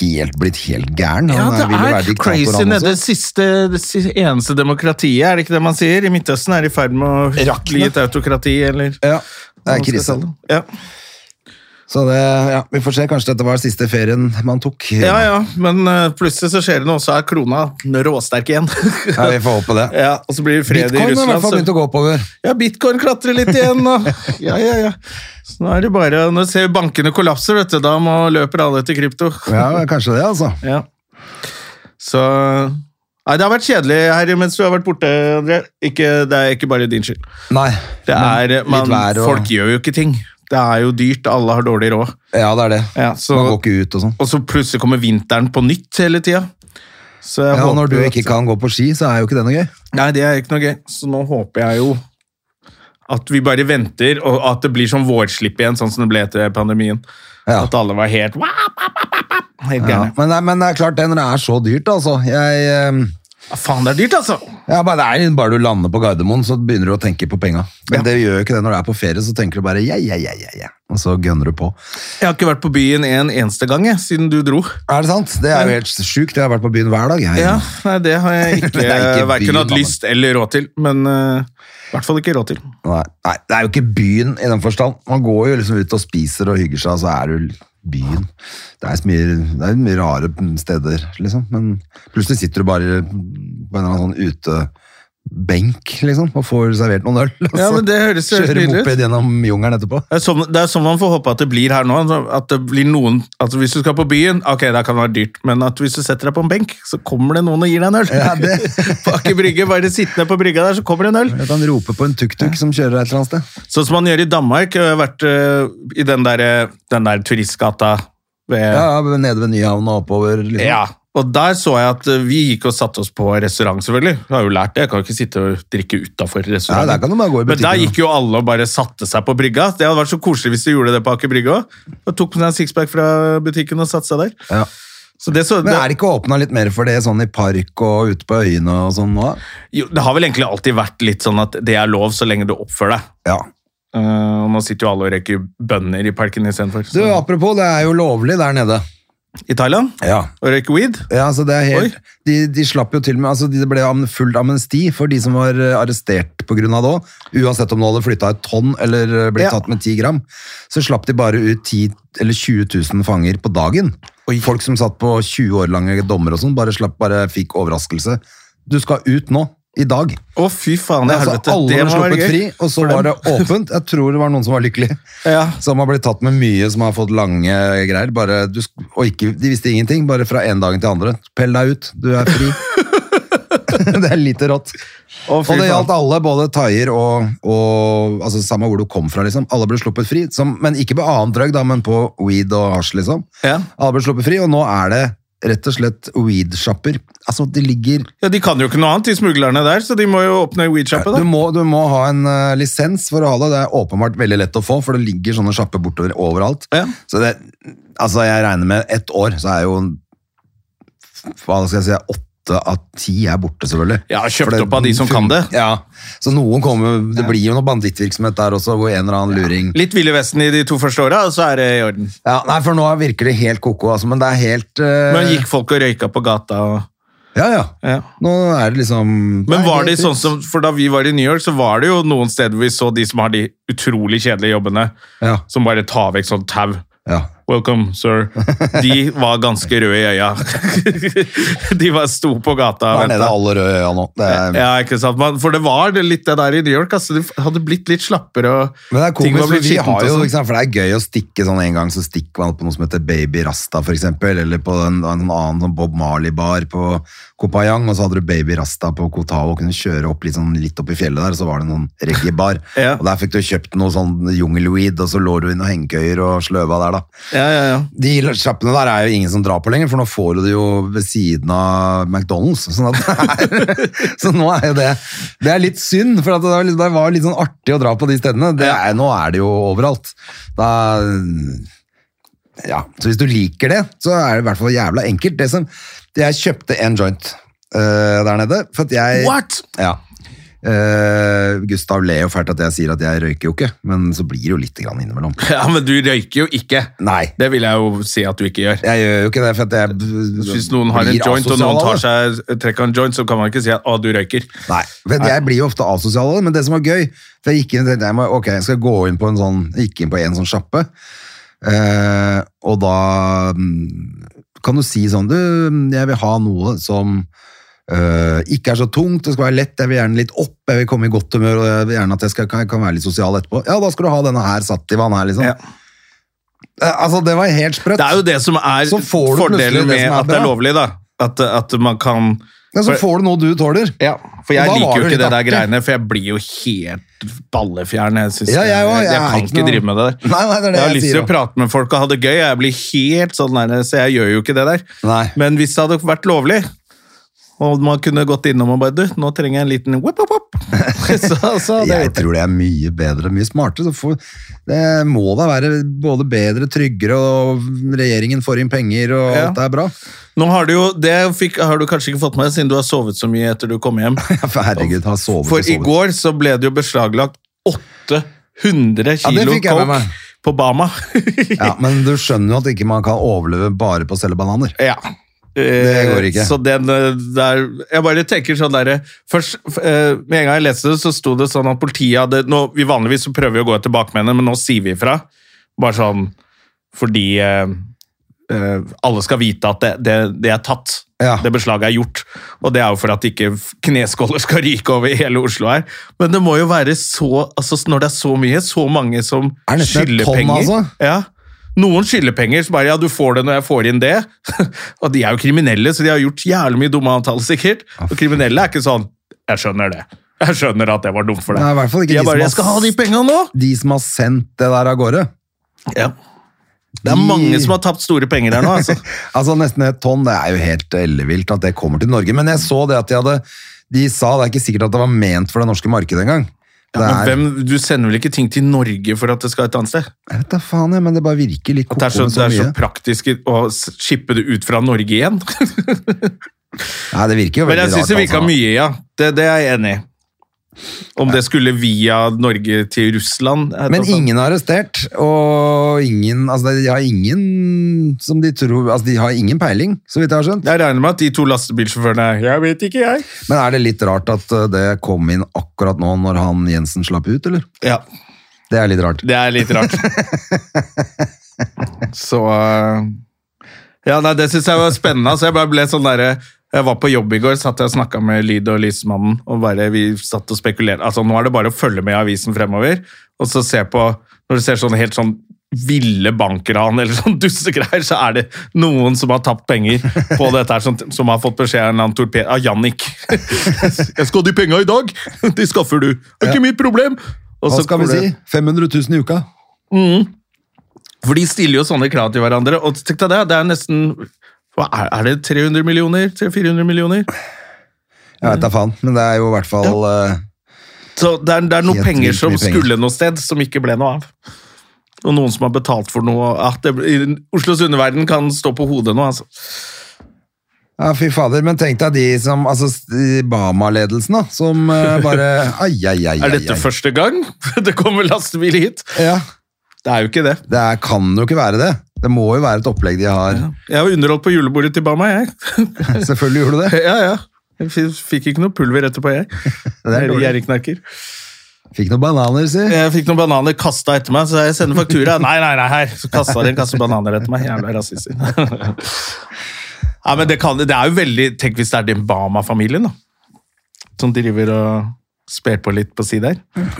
[SPEAKER 1] helt, blitt helt gæren.
[SPEAKER 2] Ja,
[SPEAKER 1] Han
[SPEAKER 2] det
[SPEAKER 1] vil jo være
[SPEAKER 2] er
[SPEAKER 1] diktator,
[SPEAKER 2] crazy
[SPEAKER 1] han også.
[SPEAKER 2] nede. Det siste, det si- eneste demokratiet, er det ikke det man sier? I Midtøsten er de i ferd med å bli et autokrati, eller
[SPEAKER 1] Ja, det
[SPEAKER 2] hva man
[SPEAKER 1] er
[SPEAKER 2] skal
[SPEAKER 1] krise.
[SPEAKER 2] kalle det. Ja.
[SPEAKER 1] Så det, ja, vi får se. Kanskje dette var siste ferien man tok.
[SPEAKER 2] ja, ja, men eh, plutselig så skjer det noe, så er krona råsterk igjen.
[SPEAKER 1] Ja, vi får håpe det.
[SPEAKER 2] Ja, og så blir det fred
[SPEAKER 1] Bitcoin har i
[SPEAKER 2] i
[SPEAKER 1] hvert fall
[SPEAKER 2] Russland.
[SPEAKER 1] begynt å
[SPEAKER 2] Så,
[SPEAKER 1] gå oppover.
[SPEAKER 2] ja, bitcoin klatrer litt igjen. Og, ja, ja, ja. Så nå er det bare, nå ser vi bankene kollapser, vet du. Da må løper alle til krypto.
[SPEAKER 1] Ja, kanskje det, altså.
[SPEAKER 2] Ja. Så Nei, det har vært kjedelig her mens du har vært borte, André. Ikke, det er ikke bare din skyld.
[SPEAKER 1] Nei.
[SPEAKER 2] Det
[SPEAKER 1] men
[SPEAKER 2] er,
[SPEAKER 1] litt
[SPEAKER 2] man,
[SPEAKER 1] vær og-
[SPEAKER 2] Folk gjør jo ikke ting. Det er jo dyrt, alle har dårlig råd.
[SPEAKER 1] Ja, det er det.
[SPEAKER 2] Ja, så-
[SPEAKER 1] Man går ikke ut og sånn.
[SPEAKER 2] Og så plutselig kommer vinteren på nytt hele tida. Så jeg
[SPEAKER 1] Ja, og når
[SPEAKER 2] håper
[SPEAKER 1] du
[SPEAKER 2] at-
[SPEAKER 1] ikke kan gå på ski, så er jo ikke det noe gøy.
[SPEAKER 2] Nei, det er ikke noe gøy. Så nå håper jeg jo at vi bare venter, og at det blir sånn vårslipp igjen, sånn som det ble etter pandemien.
[SPEAKER 1] Ja.
[SPEAKER 2] At alle var helt wap, wap, wap, wap, wap, Helt
[SPEAKER 1] Ja.
[SPEAKER 2] gærne.
[SPEAKER 1] Men, det er- men det er klart det, når det er så dyrt, altså. Jeg, ehm,
[SPEAKER 2] Ja, faen, det er dyrt, altså!
[SPEAKER 1] ja, bare, det er bare du lander på Gardermoen, så begynner du å tenke på penga. Men det gjør jo ikke det når du er på ferie, så tenker du bare ja, ja, ja, ja, ja. Og så gønner du på.
[SPEAKER 2] Jeg har ikke vært på byen en eneste gang jeg, siden du dro.
[SPEAKER 1] Er det sant? Det er jo helt sjukt. Jeg har vært på byen hver dag. Jeg.
[SPEAKER 2] Ja, nei, Det har jeg ikke,
[SPEAKER 1] Det er ikke byen,
[SPEAKER 2] verken hatt
[SPEAKER 1] da, men-
[SPEAKER 2] lyst eller råd til. Men eh, i hvert fall ikke råd til.
[SPEAKER 1] Nei, nei, det er jo ikke byen i den forstand. Man går jo liksom ut og spiser og hygger seg, og så er du l- byen. Det er så mye, det er mye rare steder, liksom. Men plutselig sitter du bare på en eller annen sånn utebenk, liksom, og får servert noen øl. og
[SPEAKER 2] Ja,
[SPEAKER 1] så
[SPEAKER 2] men det høres jo helt
[SPEAKER 1] Kjører
[SPEAKER 2] nydelig ut.
[SPEAKER 1] Altså, moped gjennom jungelen etterpå.
[SPEAKER 2] Det er, som, det er som man får håpe at det blir her nå. At det blir noen, at Hvis du skal på byen, ok, det kan være dyrt, men at hvis du setter deg på en benk, så kommer det noen og gir deg en øl.
[SPEAKER 1] Ja, det-
[SPEAKER 2] på Aker Brygge, bare sittende på brygga der, så kommer det en øl.
[SPEAKER 1] Du kan rope på en tuk-tuk som kjører et eller annet sted.
[SPEAKER 2] Sånn som man gjør i Danmark. Jeg har vært øh, i den der, øh, den der turistgata ved
[SPEAKER 1] Ja, ja, Nede ved Nyhavn og oppover. Liksom.
[SPEAKER 2] Ja, og der så jeg at eh, vi gikk og satte oss på restaurant, selvfølgelig. Jeg har jo lært det, jeg kan jo ikke sitte og drikke utafor restauranten.
[SPEAKER 1] Nei, der kan du bare gå i
[SPEAKER 2] Men der
[SPEAKER 1] butikken,
[SPEAKER 2] gikk jo alle og bare satte seg på brygga. Det hadde vært så koselig hvis du gjorde det på Aker Brygge òg. Og tok med seg en sixpack fra butikken og satte seg der.
[SPEAKER 1] Ja.
[SPEAKER 2] Så det, så,
[SPEAKER 1] Men er det ikke åpna litt mer for det sånn i park og ute på øyene og sånn nå?
[SPEAKER 2] jo, det har vel egentlig alltid vært litt sånn at det er lov så lenge du oppfører deg.
[SPEAKER 1] Ja.
[SPEAKER 2] Eh, og nå sitter jo alle og reker bønner i parken istedenfor.
[SPEAKER 1] Du, apropos, det er jo lovlig der nede.
[SPEAKER 2] i Thailand
[SPEAKER 1] Ja.
[SPEAKER 2] og røyke weed.
[SPEAKER 1] Ja, altså det er helt, de, de slapp jo til med, altså det ble am- fullt amnesti for de som var eh, arrestert på grunn av det også. Uansett om du hadde flyttet et tonn eller eh, blitt
[SPEAKER 2] Ja.
[SPEAKER 1] tatt med 10 gram, så slapp de bare ut 10 eller 20 000 fanger på dagen. Folk som satt på 20 år lange dommer og sånn, bare, slapp, bare fikk overraskelse. Du skal ut nå, i dag.
[SPEAKER 2] Å, fy faen i
[SPEAKER 1] altså,
[SPEAKER 2] helvete.
[SPEAKER 1] alle
[SPEAKER 2] det
[SPEAKER 1] ble
[SPEAKER 2] må være
[SPEAKER 1] sluppet
[SPEAKER 2] gøy.
[SPEAKER 1] fri, og så
[SPEAKER 2] For
[SPEAKER 1] var det
[SPEAKER 2] dem.
[SPEAKER 1] åpent. Jeg tror det var noen som var lykkelig.
[SPEAKER 2] Ja.
[SPEAKER 1] Som har blitt tatt med mye, som har fått lange greier. Bare, du, sk- og ikke, de visste ingenting, bare fra en dagen til andre. Pell deg ut, du er fri. det er lite rått.
[SPEAKER 2] Å,
[SPEAKER 1] Og
[SPEAKER 2] fy
[SPEAKER 1] det gjaldt
[SPEAKER 2] faen.
[SPEAKER 1] alle, både thaier og, og altså, Samme hvor du kom fra, liksom. Alle ble sluppet fri. Som, men ikke på annen drøgg, da, men på weed og hasj, liksom.
[SPEAKER 2] Ja.
[SPEAKER 1] Alle ble sluppet fri, og nå er det rett og slett weed-shopper. Altså, det ligger
[SPEAKER 2] ja, De kan jo ikke noe annet, de smuglerne der, så de må jo åpne weed-sjappe. da.
[SPEAKER 1] Du må, du må ha en eh, lisens for å ha det. Det er åpenbart veldig lett å få, for det ligger sånne sjapper bortover overalt.
[SPEAKER 2] Ja.
[SPEAKER 1] Så det, altså jeg regner med ett år, så er jo hva skal jeg si, åtte av ti er borte, selvfølgelig.
[SPEAKER 2] Ja, kjøpt
[SPEAKER 1] For det-
[SPEAKER 2] opp av de som kan det.
[SPEAKER 1] Ja, så noen kommer, det blir jo noe bandittvirksomhet der også, hvor en eller annen luring
[SPEAKER 2] Litt Ville Vesten i de to første åra, og så er det i orden.
[SPEAKER 1] ja, Nei, for nå virker det helt koko, altså, men det er helt eh,
[SPEAKER 2] Men gikk folk og røyka på gata og
[SPEAKER 1] Ja, ja.
[SPEAKER 2] ja.
[SPEAKER 1] Nå er det liksom
[SPEAKER 2] Men
[SPEAKER 1] Nei,
[SPEAKER 2] var
[SPEAKER 1] helt
[SPEAKER 2] det sånn
[SPEAKER 1] fritt.
[SPEAKER 2] som, for Da vi var i New York, så var det jo noen steder vi så de som har de utrolig kjedelige jobbene,
[SPEAKER 1] Ja.
[SPEAKER 2] som bare tar vekk sånn tau.
[SPEAKER 1] ja.
[SPEAKER 2] Welcome, sir. De var ganske røde i øya. De var, sto på gata og
[SPEAKER 1] Der nede
[SPEAKER 2] venta.
[SPEAKER 1] er alle røde øya nå. Det er,
[SPEAKER 2] Ja, ikke sant? Man- For det var det litt det der i New York. Altså, det hadde blitt litt slappere. Og
[SPEAKER 1] Men det er
[SPEAKER 2] ting
[SPEAKER 1] komisk,
[SPEAKER 2] var
[SPEAKER 1] for
[SPEAKER 2] blitt
[SPEAKER 1] vi
[SPEAKER 2] skittent
[SPEAKER 1] har
[SPEAKER 2] og
[SPEAKER 1] jo,
[SPEAKER 2] sånn.
[SPEAKER 1] ikke sant, for det er gøy å stikke sånn en gang, så stikker man på noe som heter Baby Rasta, for eksempel, eller på en, en sånn annen sånn Bob Marley-bar på Kopayang, og så hadde du Baby Rasta på Kotao, og kunne kjøre opp litt, sånn, litt opp i fjellet der, og så var det noen reggae-bar.
[SPEAKER 2] Ja.
[SPEAKER 1] Og der fikk du kjøpt noe sånn jungelweed, og så lå du i noen hengekøyer og sløva der, da.
[SPEAKER 2] Ja, ja, ja.
[SPEAKER 1] De sjappene der er jo ingen som drar på lenger, for nå får du det jo ved siden av McDonald's. Sånn at det er, så nå er jo det Det er litt synd, for at det, var litt, det var litt sånn artig å dra på de stedene. Det er, nå er det jo overalt. Da, ja, så hvis du liker det, så er det i hvert fall jævla enkelt. Det som, jeg kjøpte en joint øh, der nede, for at jeg
[SPEAKER 2] What?!
[SPEAKER 1] ja. Eh, Gustav ler jo fælt at jeg sier at jeg røyker jo ikke, men så blir det jo litt grann innimellom.
[SPEAKER 2] Ja, Men du røyker jo ikke.
[SPEAKER 1] Nei.
[SPEAKER 2] Det vil jeg jo si at du ikke gjør.
[SPEAKER 1] Jeg gjør jo ikke det, for at jeg b-
[SPEAKER 2] Hvis noen har en
[SPEAKER 1] blir
[SPEAKER 2] joint, og
[SPEAKER 1] asosial
[SPEAKER 2] noen
[SPEAKER 1] av
[SPEAKER 2] tar
[SPEAKER 1] det.
[SPEAKER 2] seg trekker en joint, så kan man ikke si at 'å, du røyker'.
[SPEAKER 1] Nei, men jeg blir jo ofte asosial av det, men det som var gøy, for jeg gikk inn og tenkte, jeg må- ok, jeg skal gå inn på en sånn, jeg gikk inn på en sånn sjappe, eh, og da mm, kan du si sånn, du, jeg vil ha noe som eh, ikke er så tungt, det skal være lett, jeg vil gjerne litt opp, jeg vil komme i godt humør, og jeg vil gjerne at jeg skal, kan, kan være litt sosial etterpå. Ja, da skal du ha denne her Sativan her, liksom.
[SPEAKER 2] Ja.
[SPEAKER 1] Eh, altså, det var helt sprøtt.
[SPEAKER 2] Det er jo det som er
[SPEAKER 1] Så får du plutselig
[SPEAKER 2] fordelen
[SPEAKER 1] det
[SPEAKER 2] med
[SPEAKER 1] som er
[SPEAKER 2] at det er
[SPEAKER 1] bra.
[SPEAKER 2] lovlig, da. At, at man kan
[SPEAKER 1] Men så får du noe du tåler.
[SPEAKER 2] Ja, for jeg
[SPEAKER 1] Og da var
[SPEAKER 2] liker jo
[SPEAKER 1] det
[SPEAKER 2] ikke det
[SPEAKER 1] litt
[SPEAKER 2] der
[SPEAKER 1] artig.
[SPEAKER 2] greiene, for jeg blir jo helt ballefjern. Jeg, synes
[SPEAKER 1] Ja, jeg
[SPEAKER 2] jeg,
[SPEAKER 1] òg, jeg er
[SPEAKER 2] kan
[SPEAKER 1] ikke
[SPEAKER 2] ikke
[SPEAKER 1] noe-
[SPEAKER 2] drive med det der.
[SPEAKER 1] Nei, nei, det er det
[SPEAKER 2] jeg har
[SPEAKER 1] jeg
[SPEAKER 2] lyst
[SPEAKER 1] sier
[SPEAKER 2] til å
[SPEAKER 1] også.
[SPEAKER 2] prate med folk og ha det gøy, jeg blir helt sånn der, så jeg gjør jo ikke det der.
[SPEAKER 1] Nei.
[SPEAKER 2] Men hvis det hadde vært lovlig, og man kunne gått innom og bare Du, nå trenger jeg en liten whip, whip, whip. Så, så hadde jeg
[SPEAKER 1] Jeg
[SPEAKER 2] gjort det.
[SPEAKER 1] tror det er mye bedre, mye smartere. Så får- det må da være både bedre, tryggere, og regjeringen får inn penger, og
[SPEAKER 2] Ja.
[SPEAKER 1] alt er bra.
[SPEAKER 2] Nå har du jo Det fikk, har du kanskje ikke fått med deg, siden du har sovet så mye etter du kom hjem.
[SPEAKER 1] Ja, for herregud, har sovet og
[SPEAKER 2] For i
[SPEAKER 1] sovet.
[SPEAKER 2] går så ble det jo beslaglagt 800
[SPEAKER 1] Ja, det
[SPEAKER 2] kilo
[SPEAKER 1] fikk jeg med
[SPEAKER 2] coke
[SPEAKER 1] meg.
[SPEAKER 2] på Bama.
[SPEAKER 1] Ja, men du skjønner jo at ikke man kan overleve bare på å selge bananer.
[SPEAKER 2] Ja.
[SPEAKER 1] Det går ikke.
[SPEAKER 2] Så den eh, der Jeg bare tenker sånn derre Først, f- eh, med en gang jeg leste det, så sto det sånn at politiet hadde nå, vi Vanligvis så prøver vi å gå etter bakmennene, men nå sier vi ifra. Bare sånn fordi eh, eh, alle skal vite at det, det, det er tatt.
[SPEAKER 1] Ja.
[SPEAKER 2] Det beslaget er gjort. Og det er jo for at ikke f- kneskåler skal ryke over hele Oslo her. Men det må jo være så altså Når det er så mye, så mange som
[SPEAKER 1] Er det nesten et
[SPEAKER 2] skylder
[SPEAKER 1] tonn,
[SPEAKER 2] penger
[SPEAKER 1] altså?
[SPEAKER 2] ja. Noen skylder penger, så bare ja, du får det når jeg får inn det. og de er jo kriminelle, så de har gjort jævlig mye dumme avtaler, sikkert.
[SPEAKER 1] Ah,
[SPEAKER 2] Og kriminelle er ikke sånn Jeg skjønner det. Jeg skjønner at det var dumt for deg.
[SPEAKER 1] Nei, i hvert fall ikke
[SPEAKER 2] de
[SPEAKER 1] de
[SPEAKER 2] er bare
[SPEAKER 1] som har
[SPEAKER 2] Jeg skal ha de penga nå!
[SPEAKER 1] De som har sendt det der av gårde.
[SPEAKER 2] Ja. Det er
[SPEAKER 1] De-
[SPEAKER 2] mange som har tapt store penger der nå, altså.
[SPEAKER 1] Altså Nesten et tonn, det er jo helt ellevilt at det kommer til Norge. Men jeg så det at de hadde De sa det er ikke sikkert at det var ment for det norske markedet engang. Det
[SPEAKER 2] Men
[SPEAKER 1] er,
[SPEAKER 2] hvem, du sender vel ikke ting til Norge for at det skal et annet sted?
[SPEAKER 1] jeg vet da faen, jeg, men det bare virker litt
[SPEAKER 2] Det
[SPEAKER 1] koko
[SPEAKER 2] er så,
[SPEAKER 1] med
[SPEAKER 2] det
[SPEAKER 1] så
[SPEAKER 2] er så
[SPEAKER 1] mye.
[SPEAKER 2] praktisk å s- shippe det ut fra Norge igjen.
[SPEAKER 1] Nei, det virker jo
[SPEAKER 2] Men
[SPEAKER 1] veldig
[SPEAKER 2] jeg
[SPEAKER 1] rart.
[SPEAKER 2] syns det virka
[SPEAKER 1] altså.
[SPEAKER 2] mye, ja. Det, det er jeg enig i. Om det skulle via Norge til Russland eh,
[SPEAKER 1] Men
[SPEAKER 2] altså,
[SPEAKER 1] ingen er arrestert, og ingen Altså, de har ingen som de tror Altså, de har ingen peiling, så vidt jeg har skjønt.
[SPEAKER 2] Jeg regner med at de to lastebilsjåførene er Jeg vet ikke, jeg.
[SPEAKER 1] Men er det litt rart at eh, det kom inn akkurat nå, når han Jensen slapp ut, eller?
[SPEAKER 2] Ja,
[SPEAKER 1] Det er litt rart.
[SPEAKER 2] Det er litt rart. Så eh, Ja, nei, det syns jeg var spennende. Så jeg bare ble sånn derre Jeg var på jobb i går, satt jeg og snakka med lyd- og lysmannen, og bare vi satt og spekulerte. Altså, nå er det bare å følge med i avisen fremover, og så se på Når du ser sånn helt sånn ville bankran eller sånn dussegreier, så er det noen som har tapt penger på dette her, som, som har fått beskjed av en eller annen torped av Jannik. 'Jeg skal ha de penga i dag! De skaffer du! Det er ikke mitt problem!' Og
[SPEAKER 1] Hva
[SPEAKER 2] så
[SPEAKER 1] skal vi
[SPEAKER 2] kommer det-
[SPEAKER 1] si? 500 000 i uka?
[SPEAKER 2] for de stiller jo sånne krav til hverandre, og tenk deg det, det er nesten hva er, er det 300 millioner? 300-400 millioner?
[SPEAKER 1] Jeg vet da faen, men det er jo i hvert fall eh,
[SPEAKER 2] Så det er, det er noen
[SPEAKER 1] Helt
[SPEAKER 2] penger
[SPEAKER 1] vilt
[SPEAKER 2] som
[SPEAKER 1] mye penger.
[SPEAKER 2] skulle noe sted, som ikke ble noe av. Og noen som har betalt for noe. og At det, i Oslos underverden kan stå på hodet nå, altså.
[SPEAKER 1] Ja, fy fader. Men tenk deg de som Altså, s- Bama-ledelsen, da, som eh, bare Ai, ai, ai,
[SPEAKER 2] Er
[SPEAKER 1] ai.
[SPEAKER 2] dette
[SPEAKER 1] ai.
[SPEAKER 2] første gang det kommer lastebil hit?
[SPEAKER 1] Ja.
[SPEAKER 2] Det er jo ikke det.
[SPEAKER 1] Det er, kan jo ikke være det. Det må jo være et opplegg de har.
[SPEAKER 2] Jeg var underholdt på julebordet til Bama, jeg.
[SPEAKER 1] Selvfølgelig gjorde du det.
[SPEAKER 2] ja, ja. Jeg f- fikk ikke noe pulver etterpå, jeg.
[SPEAKER 1] Det er dårlig.
[SPEAKER 2] Gjerriknarker.
[SPEAKER 1] Fikk noen bananer, si.
[SPEAKER 2] Jeg fikk noen bananer kasta etter meg, så jeg sender faktura. Nei, nei, nei, her! Så kasta de en kasse bananer etter meg. Jævla rasister. Nei, men det, kan, det er jo veldig Tenk hvis det er den Bama-familien, da. Som driver og sper på litt på si der.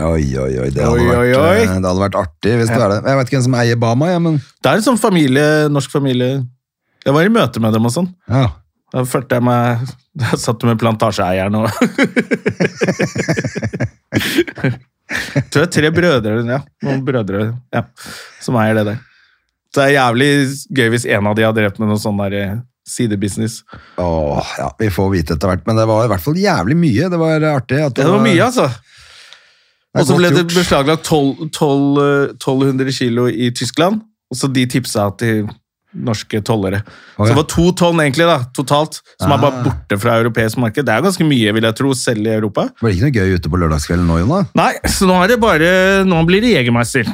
[SPEAKER 1] Oi, oi, oi. Det hadde,
[SPEAKER 2] Oi,
[SPEAKER 1] vært,
[SPEAKER 2] oi, oi.
[SPEAKER 1] eh, det hadde vært artig hvis det er det. Jeg vet ikke hvem som eier Bama, jeg, men
[SPEAKER 2] Det er en sånn familie, norsk familie Jeg var i møte med dem og sånn.
[SPEAKER 1] ja.
[SPEAKER 2] Da følte jeg meg Jeg satt med plantasjeeieren og Jeg tror det er tre brødre, ja. Noen brødre ja, som eier det der. Så det er jævlig gøy hvis en av de har drevet med noe sånn der eh, sidebusiness.
[SPEAKER 1] Åh, ja, vi får vite etter hvert. Men det var i hvert fall jævlig mye. Det var artig. At
[SPEAKER 2] Det var mye, altså.
[SPEAKER 1] Det er
[SPEAKER 2] Og så
[SPEAKER 1] godt
[SPEAKER 2] ble det
[SPEAKER 1] gjort.
[SPEAKER 2] beslaglagt 12 12, eh, 1200 kilo i Tyskland, og så de tipsa til norske tollere.
[SPEAKER 1] Å,
[SPEAKER 2] Så
[SPEAKER 1] ja.
[SPEAKER 2] det var to tonn egentlig da, totalt, som er
[SPEAKER 1] Ah.
[SPEAKER 2] bare borte fra europeisk marked. Det er ganske mye, vil jeg tro, selv i Europa.
[SPEAKER 1] Var det ikke noe gøy ute på lørdagskvelden nå, Jonna?
[SPEAKER 2] Nei, så nå er det bare Nå blir det Jegermeister.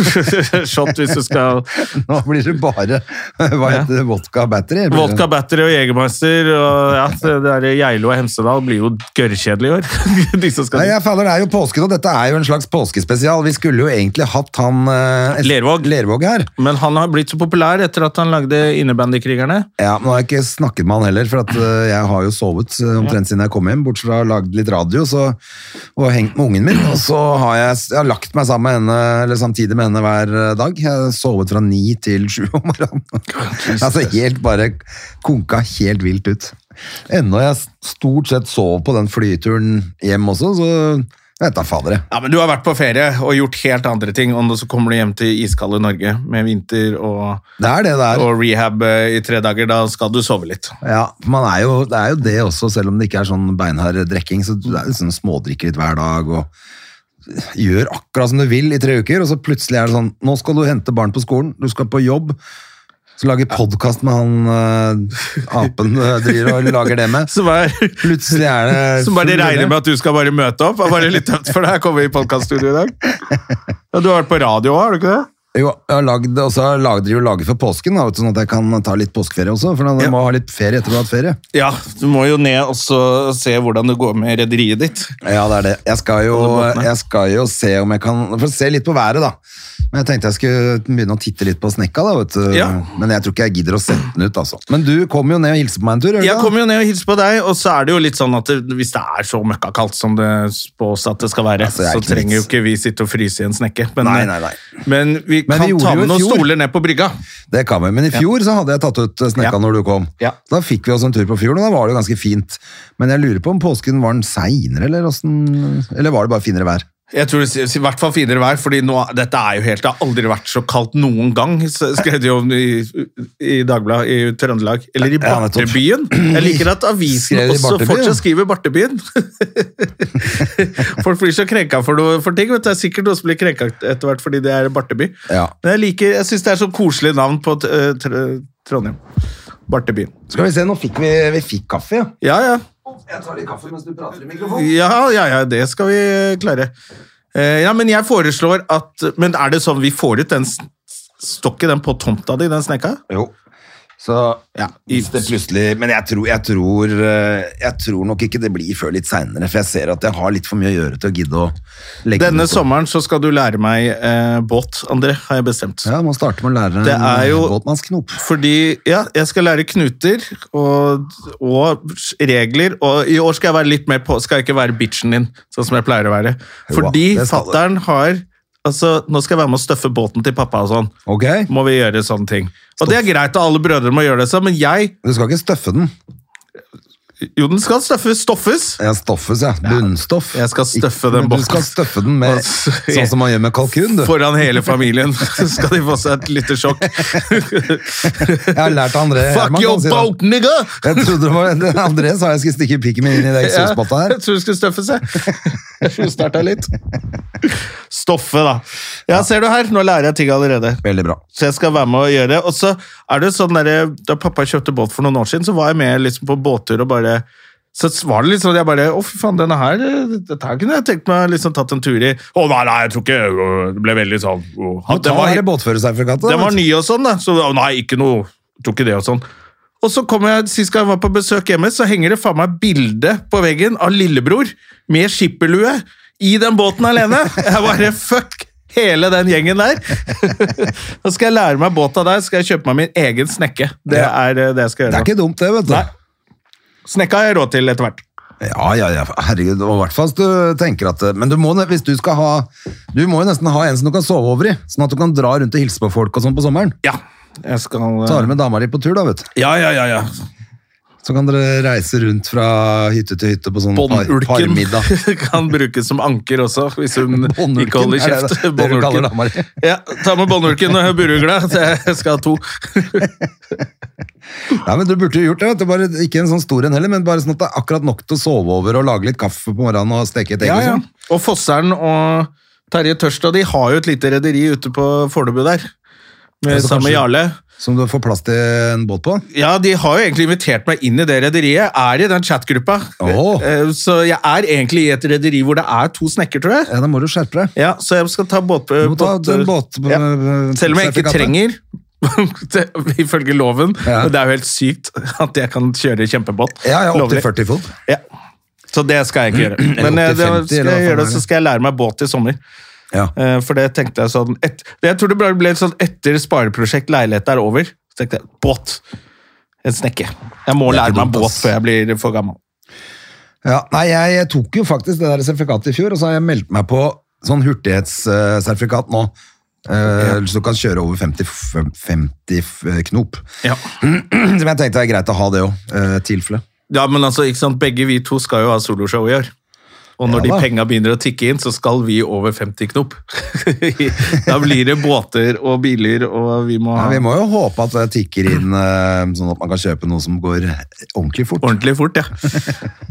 [SPEAKER 2] Shot hvis du skal
[SPEAKER 1] Nå blir det bare hva heter det, vodka battery. blir det.
[SPEAKER 2] Vodka Battery og Jegermeister og ja, det der Geilo og Hemsedal blir jo gørrkjedelig i år. De som
[SPEAKER 1] Nei,
[SPEAKER 2] skal
[SPEAKER 1] jeg faller, Det er jo påsken, og dette er jo en slags påskespesial. Vi skulle jo egentlig hatt han eh, Es-
[SPEAKER 2] Lervåg.
[SPEAKER 1] Lervåg her.
[SPEAKER 2] Men han har blitt så populær etter at han lagde Innebandykrigerne.
[SPEAKER 1] Ja, men Nå har jeg ikke snakket med han heller, for at, eh, jeg har jo sovet eh, omtrent siden jeg kom hjem. Bortsett fra å ha lagd litt radio så, og hengt med ungen min. Og så har jeg, jeg har lagt meg sammen med henne, eller samtidig med henne hver eh, dag. Jeg har sovet fra ni til sju om morgenen. altså helt bare konka helt vilt ut. Ennå jeg stort sett sov på den flyturen hjem også, så jeg vet da fader jeg.
[SPEAKER 2] Ja, men Du har vært på ferie og gjort helt andre ting, og nå så kommer du hjem til iskalde Norge med vinter og,
[SPEAKER 1] Det er det det er.
[SPEAKER 2] og rehab eh, i tre dager. Da skal du sove litt.
[SPEAKER 1] Ja, man er jo, det er jo det også, selv om det ikke er sånn beinhard drekking, så du er jo sånn smådrikker litt hver dag, og gjør akkurat som du vil i tre uker, og så plutselig er det sånn, nå skal du hente barn på skolen, du skal på jobb, så lager podcast med han eh, apen uh, driver og lager det med.
[SPEAKER 2] Som, er,
[SPEAKER 1] Plutselig er det...
[SPEAKER 2] som bare regner med at du skal bare møte opp. Det er bare litt tøft for deg å komme i podcaststudio i dag. Ja, du har vært på radio òg, har du ikke det?
[SPEAKER 1] Jo, jeg har lagd, og så lager jeg jo laget for påsken, da, vet du, sånn at jeg kan ta litt påskeferie også, for da
[SPEAKER 2] Ja.
[SPEAKER 1] må jeg ha litt ferie etter du har hatt ferie.
[SPEAKER 2] Ja, du må jo ned og så se hvordan det går med rederiet ditt.
[SPEAKER 1] Ja, det er det. Jeg skal, jo,
[SPEAKER 2] Alle båtene.
[SPEAKER 1] jeg skal jo se om jeg kan For å se litt på været, da. Men jeg tenkte jeg skulle begynne å titte litt på snekka, da, vet du.
[SPEAKER 2] Ja.
[SPEAKER 1] Men jeg tror ikke jeg gidder å sette den ut, altså. Men du kom jo ned og hilste på meg en tur, gjør du
[SPEAKER 2] Jeg
[SPEAKER 1] ikke
[SPEAKER 2] kommer jo ned og hilser på deg, og så er det jo litt sånn at det, hvis det er så møkkakaldt som det spås at det skal være,
[SPEAKER 1] Altså, jeg er
[SPEAKER 2] så
[SPEAKER 1] ikke
[SPEAKER 2] trenger jo
[SPEAKER 1] vits.
[SPEAKER 2] ikke vi sitte og fryse i en snekke. Men,
[SPEAKER 1] Nei, nei, nei.
[SPEAKER 2] men vi
[SPEAKER 1] Men vi
[SPEAKER 2] kan
[SPEAKER 1] gjorde
[SPEAKER 2] ta
[SPEAKER 1] jo i
[SPEAKER 2] med noen
[SPEAKER 1] fjor.
[SPEAKER 2] stoler ned på brygga.
[SPEAKER 1] Det kan vi. Men i fjor så hadde jeg tatt ut eh, snekka
[SPEAKER 2] Ja.
[SPEAKER 1] når du kom.
[SPEAKER 2] Ja.
[SPEAKER 1] Da fikk vi oss en tur på fjorden, og da var det jo ganske fint. Men jeg lurer på om påsken var den seinere, eller åssen Eller var det bare finere vær?
[SPEAKER 2] Jeg tror det sies i hvert fall finere vær, fordi nå, dette er jo helt, det har aldri vært så kaldt noen gang, så skrev de jo om i, i Dagbladet i Trøndelag, eller i
[SPEAKER 1] Ja, nettopp.
[SPEAKER 2] Bartebyen. Jeg liker at avisen
[SPEAKER 1] Skrev de
[SPEAKER 2] også
[SPEAKER 1] Bartebyen?
[SPEAKER 2] fortsatt skriver Bartebyen. Folk blir så krenka for, noe, for ting, vet du. Det er sikkert noen som blir krenka etter hvert fordi det er Barteby.
[SPEAKER 1] Ja.
[SPEAKER 2] Men jeg, liker, jeg synes det er så koselig navn på t- eh, tr Trondheim. Bartebyen.
[SPEAKER 1] Skal vi se, nå fikk vi, vi fikk kaffe, ja.
[SPEAKER 2] Ja, ja.
[SPEAKER 3] Jeg tar litt kaffe mens du prater i mikrofonen.
[SPEAKER 2] Ja, ja, ja, det skal vi klare. Eh, ja, men jeg foreslår at Men er det sånn vi får ut den s- Står ikke den på tomta di, den snekka?
[SPEAKER 1] Jo. Så
[SPEAKER 2] Ja, i-
[SPEAKER 1] hvis det plutselig Men jeg tror, jeg, tror, eh, jeg tror nok ikke det blir før litt seinere, for jeg ser at jeg har litt for mye å gjøre til å gidde å legge
[SPEAKER 2] Denne
[SPEAKER 1] det ut.
[SPEAKER 2] sommeren så skal du lære meg eh, båt, André, har jeg bestemt.
[SPEAKER 1] Ja, man starter med å lære
[SPEAKER 2] Det er jo-
[SPEAKER 1] båtmannsknop.
[SPEAKER 2] Fordi ja, jeg skal lære knuter og, og regler, og i år skal jeg være litt mer på Skal jeg ikke være bitchen din, sånn som jeg pleier å være. Fordi
[SPEAKER 1] det skal du.
[SPEAKER 2] fattern har Altså, nå skal jeg være med å støffe båten til pappa og sånn.
[SPEAKER 1] Ok?
[SPEAKER 2] Må vi gjøre sånne ting. Og det er greit, og alle brødre må gjøre det, sånn, men jeg
[SPEAKER 1] Du skal ikke støffe den.
[SPEAKER 2] Jo, den skal støffes, stoffes.
[SPEAKER 1] Ja, stoffes, ja. Bunnstoff.
[SPEAKER 2] Jeg skal støffe
[SPEAKER 1] Ikke-
[SPEAKER 2] den
[SPEAKER 1] men
[SPEAKER 2] båten.
[SPEAKER 1] Du skal støffe den med
[SPEAKER 2] Altså,
[SPEAKER 1] sånn som man gjør med kalkun, du.
[SPEAKER 2] Foran hele familien. Så skal de få seg et lite sjokk.
[SPEAKER 1] Jeg har lært av André
[SPEAKER 2] Fuck
[SPEAKER 1] Herman.
[SPEAKER 2] your
[SPEAKER 1] han sier det.
[SPEAKER 2] boat, nigga!
[SPEAKER 1] Jeg trodde det var André sa jeg skulle stikke pikken min inn i det
[SPEAKER 2] Ja,
[SPEAKER 1] eksospotta her.
[SPEAKER 2] jeg tror det skulle støffe seg. Jeg skulle starta litt. Stoffe, da. Ja, ser du her, nå lærer jeg ting allerede.
[SPEAKER 1] Veldig bra.
[SPEAKER 2] Så jeg skal være med og gjøre det. Og så er det sånn der, Da pappa kjøpte båt for noen år siden, så var jeg med liksom på båttur og bare så var det litt sånn, jeg bare, å fy faen, denne her, dette her kunne jeg tenkt meg liksom tatt en tur i. Å nei, nei, jeg tror ikke, øh, det ble veldig sånn. øh,
[SPEAKER 1] Nå
[SPEAKER 2] det
[SPEAKER 1] tar
[SPEAKER 2] var-
[SPEAKER 1] dere båtførersertifikatet.
[SPEAKER 2] Den var
[SPEAKER 1] vet du.
[SPEAKER 2] ny og sånn, da. Så å nei, ikke noe. Tok ikke det og sånn. Og så kom jeg, Sist gang jeg var på besøk hjemme, så henger det faen meg bilde på veggen av lillebror med skipperlue i den båten alene. Jeg bare fuck hele den gjengen der. Nå skal jeg lære meg båt av deg, skal jeg kjøpe meg min egen snekke. Det
[SPEAKER 1] Ja.
[SPEAKER 2] er eh, det jeg skal
[SPEAKER 1] Det er
[SPEAKER 2] gjøre.
[SPEAKER 1] ikke dumt, det, vet du.
[SPEAKER 2] Nei. Snekka har jeg råd til etter hvert.
[SPEAKER 1] Ja, ja, ja. Herregud, og i hvert fall hvis du tenker at eh, Men du må, ne- hvis du skal ha Du må jo nesten ha en som du kan sove over i, sånn at du kan dra rundt og hilse på folk og sånn på sommeren.
[SPEAKER 2] Ja, jeg skal... eh,
[SPEAKER 1] Tar du med dama di på tur, da, vet du.
[SPEAKER 2] Ja, ja, ja, ja.
[SPEAKER 1] Så kan dere reise rundt fra hytte til hytte på sånn par,
[SPEAKER 2] Båndulken
[SPEAKER 1] parmiddag.
[SPEAKER 2] kan brukes som anker også, hvis hun
[SPEAKER 1] Båndulken,
[SPEAKER 2] ikke holder
[SPEAKER 1] er det
[SPEAKER 2] kjeft.
[SPEAKER 1] det du kaller dama di?
[SPEAKER 2] Ja, ta med båndulken og burugla. Jeg skal ha to.
[SPEAKER 1] Nei, men Du burde jo gjort det. vet du. Bare, ikke en sånn stor en heller, men bare sånn at det er akkurat nok til å sove over og lage litt kaffe på morgenen og steke et egg.
[SPEAKER 2] Ja, ja.
[SPEAKER 1] og sånn.
[SPEAKER 2] Og Fosseren og Terje Tørstad de har jo et lite rederi ute på Fornebu der. Med,
[SPEAKER 1] Ja, så
[SPEAKER 2] sammen med
[SPEAKER 1] kanskje-
[SPEAKER 2] Jarle.
[SPEAKER 1] sånn, Som du får plass til en båt på.
[SPEAKER 2] Ja, de har jo egentlig invitert meg inn i det rederiet. Er i den chatgruppa.
[SPEAKER 1] Åh.
[SPEAKER 2] Eh, Så jeg er egentlig i et rederi hvor det er to snekker, tror jeg.
[SPEAKER 1] Ja, Da må du skjerpe deg.
[SPEAKER 2] Ja, Så jeg skal ta båt...
[SPEAKER 1] Du må ta den båt... eh,
[SPEAKER 2] Ja. Selv om jeg ikke
[SPEAKER 1] sertifikatet.
[SPEAKER 2] trenger det- ifølge loven,
[SPEAKER 1] Ja.
[SPEAKER 2] men det er jo helt sykt at jeg kan kjøre kjempebåt.
[SPEAKER 1] Ja, ja, opp til
[SPEAKER 2] Lovlig.
[SPEAKER 1] 40 fot.
[SPEAKER 2] Ja. Så det skal jeg ikke gjøre. Men
[SPEAKER 1] Eller
[SPEAKER 2] eh,
[SPEAKER 1] opp til 50, eller
[SPEAKER 2] det skal jeg
[SPEAKER 1] hva faen
[SPEAKER 2] gjøre,
[SPEAKER 1] er
[SPEAKER 2] så
[SPEAKER 1] det?
[SPEAKER 2] skal jeg lære meg båt i sommer.
[SPEAKER 1] Ja.
[SPEAKER 2] Eh, For det tenkte jeg sånn et, det- Jeg tror det bare ble litt sånn etter spareprosjekt leilighet er over, så tenkte jeg båt. En snekke. Jeg må
[SPEAKER 1] Det er ikke
[SPEAKER 2] lære meg
[SPEAKER 1] dumt,
[SPEAKER 2] båt
[SPEAKER 1] ass.
[SPEAKER 2] før jeg blir for gammel.
[SPEAKER 1] Ja, nei, jeg, jeg tok jo faktisk det der sertifikatet i fjor, og så har jeg meldt meg på sånn hurtighetssertifikat nå. Eh, Så du kan kjøre over 50, f- 50 f- eh, knop.
[SPEAKER 2] Ja.
[SPEAKER 1] Som jeg tenkte er greit å ha det òg. Eh, tilfelle.
[SPEAKER 2] ja, men altså, ikke sant? Begge vi to skal jo ha soloshow i år. Og når
[SPEAKER 1] Ja da.
[SPEAKER 2] de penga begynner å tikke inn, så skal vi over 50 knop. da blir det båter og biler, og vi må
[SPEAKER 1] Ja,
[SPEAKER 2] ha
[SPEAKER 1] vi må jo håpe at det tikker inn, eh, sånn at man kan kjøpe noe som går ordentlig fort.
[SPEAKER 2] ordentlig fort, ja.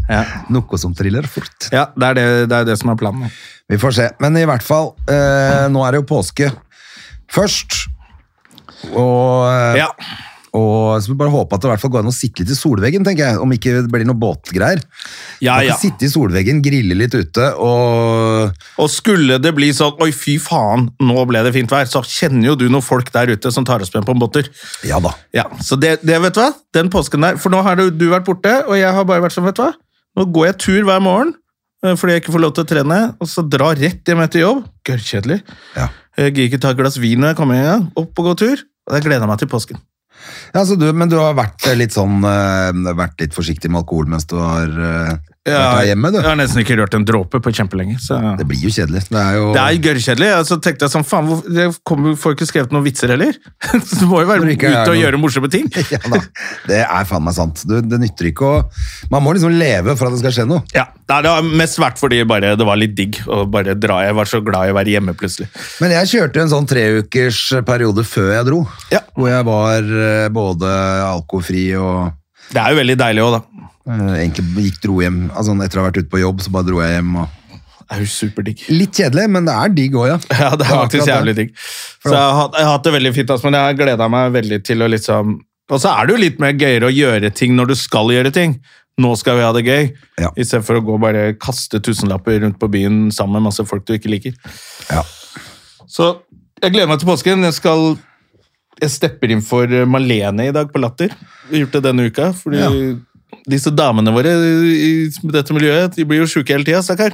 [SPEAKER 2] ja.
[SPEAKER 1] Noe som triller fort.
[SPEAKER 2] Ja, det er det, det er det som er planen.
[SPEAKER 1] Vi får se. Men i hvert fall, eh, nå er det jo påske først. Og, eh,
[SPEAKER 2] Ja.
[SPEAKER 1] og så får vi bare håpe at det i hvert fall går an å sitte litt i solveggen, tenker jeg. Om ikke det blir noe båtgreier.
[SPEAKER 2] Ja,
[SPEAKER 1] Man kan
[SPEAKER 2] ja.
[SPEAKER 1] Sitte i solveggen, grille litt ute og
[SPEAKER 2] Og skulle det bli sånn Oi, fy faen, nå ble det fint vær, så kjenner jo du noen folk der ute som tar oss med på en båttur.
[SPEAKER 1] Ja da.
[SPEAKER 2] Ja, Så det, det, vet du hva? Den påsken der For nå har du, du vært borte, og jeg har bare vært sånn, vet du hva? Nå går jeg tur hver morgen eh, fordi jeg ikke får lov til å trene, og så dra rett hjem etter jobb. Gørrkjedelig.
[SPEAKER 1] Ja.
[SPEAKER 2] Jeg gidder ikke ta et glass vin når jeg kommer hjem engang. Opp og gå tur. Og jeg gleder meg til påsken.
[SPEAKER 1] Ja, så du, men du har vært eh, litt sånn eh, Vært litt forsiktig med alkohol mens du har eh, vært her hjemme, du.
[SPEAKER 2] jeg har nesten ikke rørt en dråpe på kjempelenge. Så.
[SPEAKER 1] Det blir jo kjedelig. Det er jo
[SPEAKER 2] Det er gørrkjedelig. Og så tenkte jeg sånn, faen, hvor- jeg kommer, får ikke skrevet noen vitser heller. Så du må jo være
[SPEAKER 1] Når det ikke er
[SPEAKER 2] ute og
[SPEAKER 1] noe.
[SPEAKER 2] gjøre morsomme ting.
[SPEAKER 1] ja, da. Det er faen meg sant. Du, det nytter ikke å Man må liksom leve for at det skal skje noe.
[SPEAKER 2] Ja, Nei, Det har mest vært fordi bare, det var litt digg å bare dra. Jeg var så glad i å være hjemme plutselig.
[SPEAKER 1] Men jeg kjørte en sånn treukers periode før jeg dro.
[SPEAKER 2] Ja.
[SPEAKER 1] Hvor jeg var eh, både alkofri og
[SPEAKER 2] Det er jo veldig deilig òg, da.
[SPEAKER 1] eh, egentlig gikk dro hjem. Altså, etter å ha vært ute på jobb, så bare dro jeg hjem. Og...
[SPEAKER 2] Det er jo superdigg.
[SPEAKER 1] Litt kjedelig, men det er digg òg, ja.
[SPEAKER 2] Ja, det er
[SPEAKER 1] var
[SPEAKER 2] faktisk
[SPEAKER 1] akkurat
[SPEAKER 2] jævlig
[SPEAKER 1] det.
[SPEAKER 2] digg. Så jeg har, hatt- jeg har hatt det veldig fint, altså, men jeg har gleda meg veldig til å liksom Og så er det jo litt mer gøyere å gjøre ting når du skal gjøre ting. Nå skal vi ha det gøy.
[SPEAKER 1] Ja.
[SPEAKER 2] I stedet for å gå og bare kaste tusenlapper rundt på byen sammen med masse folk du ikke liker.
[SPEAKER 1] Ja.
[SPEAKER 2] Så jeg gleder meg til påsken. Jeg skal jeg stepper inn for eh, Malene i dag på Latter. Vi har gjort det denne uka. Fordi disse damene våre i dette miljøet de blir jo sjuke hele tida, stakkar.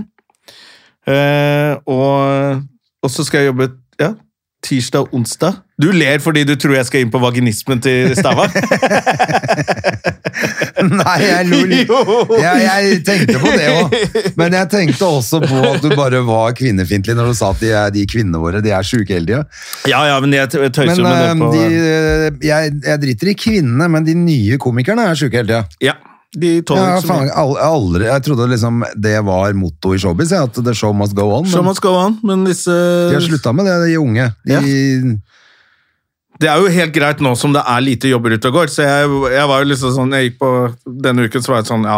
[SPEAKER 2] Eh, og, og så skal jeg jobbe ja, tirsdag og onsdag. Du ler fordi du tror jeg skal inn på vaginismen til Stava.
[SPEAKER 1] Nei, jeg lo litt.
[SPEAKER 2] Jo.
[SPEAKER 1] Jeg, jeg tenkte på det òg, men jeg tenkte også på at du bare var kvinnefiendtlig når du sa at de, er, de kvinnene våre de er sjuke hele tida.
[SPEAKER 2] ja, ja, men eh, jeg t- tøyser
[SPEAKER 1] Men
[SPEAKER 2] med det på
[SPEAKER 1] øhm, de, øh, jeg, jeg driter i kvinnene, men de nye komikerne er sjuke hele tida.
[SPEAKER 2] Ja, de tåler
[SPEAKER 1] Jeg,
[SPEAKER 2] ikke så mye.
[SPEAKER 1] jeg trodde liksom det var motto i showbiz, jeg, at the show must go on.
[SPEAKER 2] Show
[SPEAKER 1] Men
[SPEAKER 2] must go on, men disse
[SPEAKER 1] de har slutta med det, de unge. De,
[SPEAKER 2] Det er jo helt greit nå som det er lite jobber ute og går, så jeg, jeg var jo liksom sånn Jeg gikk på Denne uken så var jeg sånn Ja,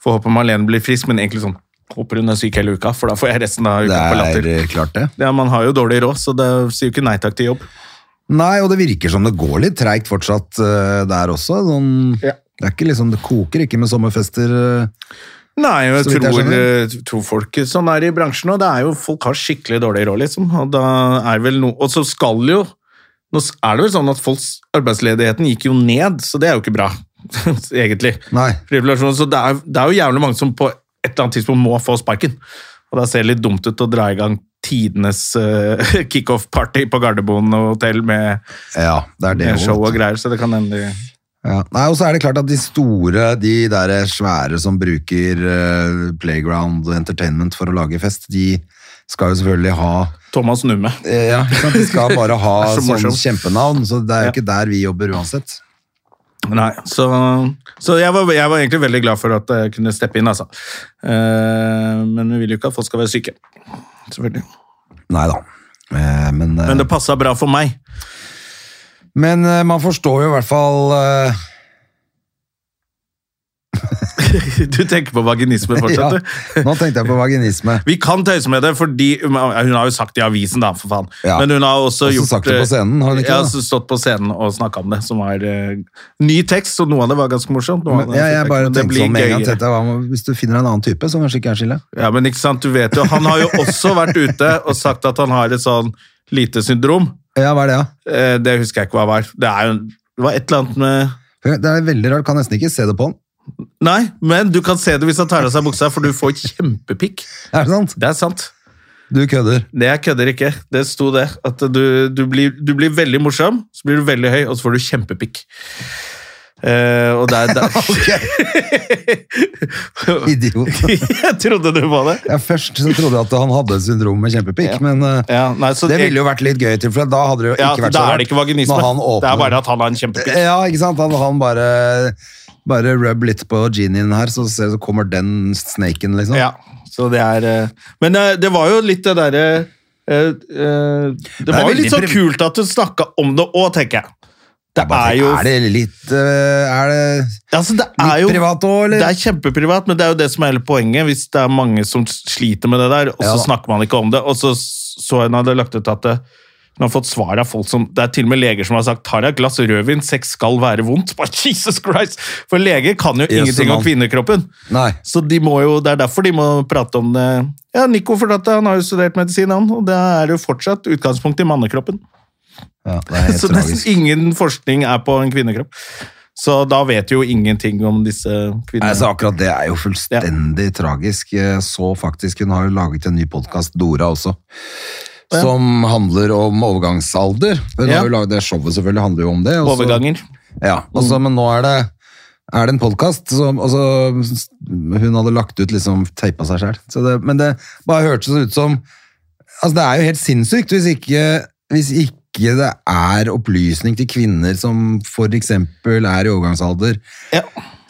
[SPEAKER 2] får håpe Marlene blir frisk, men egentlig sånn Håper hun er syk hele uka, for da får jeg resten av uka på
[SPEAKER 1] Det
[SPEAKER 2] latter.
[SPEAKER 1] er øh, klart, det.
[SPEAKER 2] Ja, Man har jo dårlig råd, så det sier jo ikke nei takk til jobb.
[SPEAKER 1] Nei, og det virker som det går litt treigt fortsatt øh, der også. Sånn,
[SPEAKER 2] Ja.
[SPEAKER 1] Det er ikke liksom, det koker ikke med sommerfester. øh.
[SPEAKER 2] Nei, jeg
[SPEAKER 1] Så vidt jeg
[SPEAKER 2] tror,
[SPEAKER 1] skjønner.
[SPEAKER 2] eh, tror folk sånn er i bransjen nå. Det er jo folk har skikkelig dårlig råd, liksom. Og da er vel noe Og så skal jo Nå s- er det vel sånn at folks arbeidsledigheten gikk jo ned, så det er jo ikke bra, egentlig.
[SPEAKER 1] Nei.
[SPEAKER 2] Frivilligasjon, Så det er, det er jo jævlig mange som på et eller annet tidspunkt må få sparken. Og da ser det litt dumt ut å dra i gang tidenes eh, kickoff-party på Gardermoen og hotell med,
[SPEAKER 1] Ja, det er det.
[SPEAKER 2] med
[SPEAKER 1] også,
[SPEAKER 2] show
[SPEAKER 1] vet
[SPEAKER 2] og
[SPEAKER 1] du.
[SPEAKER 2] greier, så det kan hende de-
[SPEAKER 1] Ja. Nei, og så er det klart at de store, de der svære som bruker eh, playground og entertainment for å lage fest, de skal jo selvfølgelig ha
[SPEAKER 2] Thomas Numme.
[SPEAKER 1] eh, ja, ikke sant? De skal bare ha
[SPEAKER 2] Det er så
[SPEAKER 1] sånn
[SPEAKER 2] morsomt.
[SPEAKER 1] kjempenavn, så det er jo
[SPEAKER 2] Ja.
[SPEAKER 1] ikke der vi jobber uansett.
[SPEAKER 2] Nei, så, så jeg, var, jeg var egentlig veldig glad for at jeg kunne steppe inn, altså. Eh, men vi vil jo ikke at folk skal være syke. Selvfølgelig.
[SPEAKER 1] Nei da. Eh, men, eh,
[SPEAKER 2] Men det passa bra for meg.
[SPEAKER 1] men eh, man forstår jo i hvert fall eh,
[SPEAKER 2] Du tenker på vaginisme
[SPEAKER 1] ja,
[SPEAKER 2] fortsatt, du.
[SPEAKER 1] Nå tenkte jeg på vaginisme.
[SPEAKER 2] Vi kan tøyse med det, fordi hun har jo sagt det i avisen, da, for faen.
[SPEAKER 1] Ja.
[SPEAKER 2] Men hun har også,
[SPEAKER 1] Og så
[SPEAKER 2] gjort
[SPEAKER 1] sagt det på scenen, har hun ikke
[SPEAKER 2] ja,
[SPEAKER 1] det?
[SPEAKER 2] så stått på scenen og snakka om det, som var eh, ny tekst, og noe av det var ganske morsomt. noe av
[SPEAKER 1] Men,
[SPEAKER 2] det
[SPEAKER 1] ja, jeg
[SPEAKER 2] fikk
[SPEAKER 1] bare
[SPEAKER 2] men det
[SPEAKER 1] tenkte
[SPEAKER 2] blir
[SPEAKER 1] sånn med en gang,
[SPEAKER 2] gøyere.
[SPEAKER 1] tenkte jeg, hva om- hvis du finner en annen type, så kanskje ikke er skille.
[SPEAKER 2] Ja, men ikke sant, du vet jo, Han har jo også vært ute og sagt at han har et sånn lite syndrom.
[SPEAKER 1] Ja, hva er det, ja?
[SPEAKER 2] Eh, Det husker jeg ikke hva var. Det, er jo, det var et eller annet med
[SPEAKER 1] Det er veldig rart, kan nesten ikke se det på han.
[SPEAKER 2] Nei, men du kan se det hvis han tar av seg buksa, for du får kjempepikk.
[SPEAKER 1] Er det sant?
[SPEAKER 2] Det er sant.
[SPEAKER 1] Du kødder.
[SPEAKER 2] Det jeg kødder ikke. Det sto det. At du, du, blir, du blir veldig morsom, så blir du veldig høy, og så får du kjempepikk. Eh, og det er der
[SPEAKER 1] Idiot.
[SPEAKER 2] Jeg trodde du var det.
[SPEAKER 1] Ja, først så trodde jeg at han hadde et syndrom med kjempepikk, men eh,
[SPEAKER 2] Ja, nei, så
[SPEAKER 1] det ville jo vært litt gøy til, for da hadde det jo ikke
[SPEAKER 2] ja,
[SPEAKER 1] vært
[SPEAKER 2] Da
[SPEAKER 1] så
[SPEAKER 2] er det ikke vaginisme.
[SPEAKER 1] Når han
[SPEAKER 2] Det
[SPEAKER 1] åpner. Eh,
[SPEAKER 2] er bare at han har en kjempepikk.
[SPEAKER 1] Ja, ikke sant? Han, han bare, bare rub litt på genien her, så, ser, så kommer den snaken, liksom.
[SPEAKER 2] Ja, så det er eh, Men eh, det var jo litt det derre eh, eh, Det var jo
[SPEAKER 1] veldig
[SPEAKER 2] litt sånn
[SPEAKER 1] prim-
[SPEAKER 2] kult at du snakka om det òg, tenker jeg. Det
[SPEAKER 1] Jeg bare
[SPEAKER 2] er
[SPEAKER 1] tenker,
[SPEAKER 2] jo
[SPEAKER 1] Er det litt eh, Er det
[SPEAKER 2] Altså, det
[SPEAKER 1] litt
[SPEAKER 2] er jo
[SPEAKER 1] privat òg,
[SPEAKER 2] det
[SPEAKER 1] eller?
[SPEAKER 2] er kjempeprivat, men det er jo det som er hele poenget. Hvis det er mange som sliter med det der, og så
[SPEAKER 1] Ja da.
[SPEAKER 2] snakker man ikke om det. Og så så hun hadde lagt ut at det, hun har fått svar av folk som Det er til og med leger som har sagt 'tar jeg et glass rødvin, sex skal være vondt'. Bare, Jesus Christ! For leger kan jo
[SPEAKER 1] Yes,
[SPEAKER 2] ingenting om
[SPEAKER 1] man.
[SPEAKER 2] kvinnekroppen.
[SPEAKER 1] Nei.
[SPEAKER 2] Så de må jo, det er derfor de må prate om det. Ja, Nico fortalte han har jo studert medisin, han, og det er jo fortsatt utgangspunkt i mannekroppen.
[SPEAKER 1] Ja, det er helt
[SPEAKER 2] Så nesten
[SPEAKER 1] tragisk.
[SPEAKER 2] ingen forskning er på en kvinnekropp. Så da vet vi jo ingenting om disse
[SPEAKER 1] Nei,
[SPEAKER 2] kvinnene.
[SPEAKER 1] så akkurat det er jo fullstendig tragisk. Jeg så faktisk, hun har jo laget en ny podkast, Dora også,
[SPEAKER 2] Ja.
[SPEAKER 1] som handler om overgangsalder. Hun
[SPEAKER 2] Ja.
[SPEAKER 1] har jo laget det showet, selvfølgelig handler jo om det. altså- og så-
[SPEAKER 2] Overganger.
[SPEAKER 1] Ja,
[SPEAKER 2] Mm.
[SPEAKER 1] altså, men nå er det, er det en podkast som altså, Hun hadde lagt ut liksom teipa seg sjøl. Men det bare hørtes ut som Altså, det er jo helt sinnssykt hvis ikke, hvis ikke det er opplysning til kvinner som f.eks. er i overgangsalder.
[SPEAKER 2] Ja.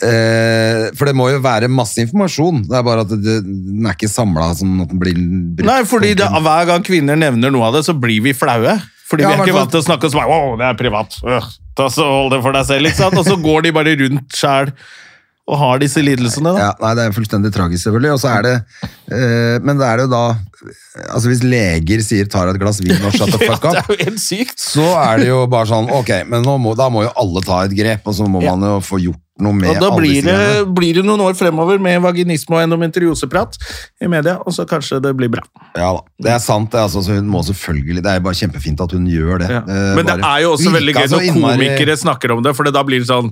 [SPEAKER 1] Eh, for det må jo være masse informasjon, det er bare at det, den er ikke samla sånn at den blir brukt.
[SPEAKER 2] Nei, fordi det, hver gang kvinner nevner noe av det, så blir vi flaue. Fordi
[SPEAKER 1] Ja,
[SPEAKER 2] vi er
[SPEAKER 1] men
[SPEAKER 2] ikke
[SPEAKER 1] for-
[SPEAKER 2] vant til å snakke og så bare Wow, det er privat. Øh, ta så Hold det for deg selv, ikke sant? Og så går de bare rundt sjæl og har disse lidelsene, da.
[SPEAKER 1] Ja, nei, det er fullstendig tragisk, selvfølgelig. Og så er det eh, Men det er det jo da Altså, hvis leger sier 'tar et glass vin og shut the fuck
[SPEAKER 2] det
[SPEAKER 1] up',
[SPEAKER 2] er jo helt sykt.
[SPEAKER 1] så er det jo bare sånn Ok, men nå må, da må jo alle ta et grep, og så må man jo få gjort noe med
[SPEAKER 2] Og da
[SPEAKER 1] alle
[SPEAKER 2] blir
[SPEAKER 1] disse
[SPEAKER 2] det,
[SPEAKER 1] greiene.
[SPEAKER 2] blir det noen år fremover med vaginisme og endometrioseprat i media, og så kanskje det blir bra.
[SPEAKER 1] Ja da, det er sant. Det, er altså, så hun må selvfølgelig, det er bare kjempefint at hun gjør det.
[SPEAKER 2] Ja.
[SPEAKER 1] Eh,
[SPEAKER 2] Men det
[SPEAKER 1] bare-
[SPEAKER 2] er jo også
[SPEAKER 1] Hun
[SPEAKER 2] veldig
[SPEAKER 1] virka
[SPEAKER 2] gøy
[SPEAKER 1] så
[SPEAKER 2] når
[SPEAKER 1] innmari-
[SPEAKER 2] komikere snakker om det, for da blir det sånn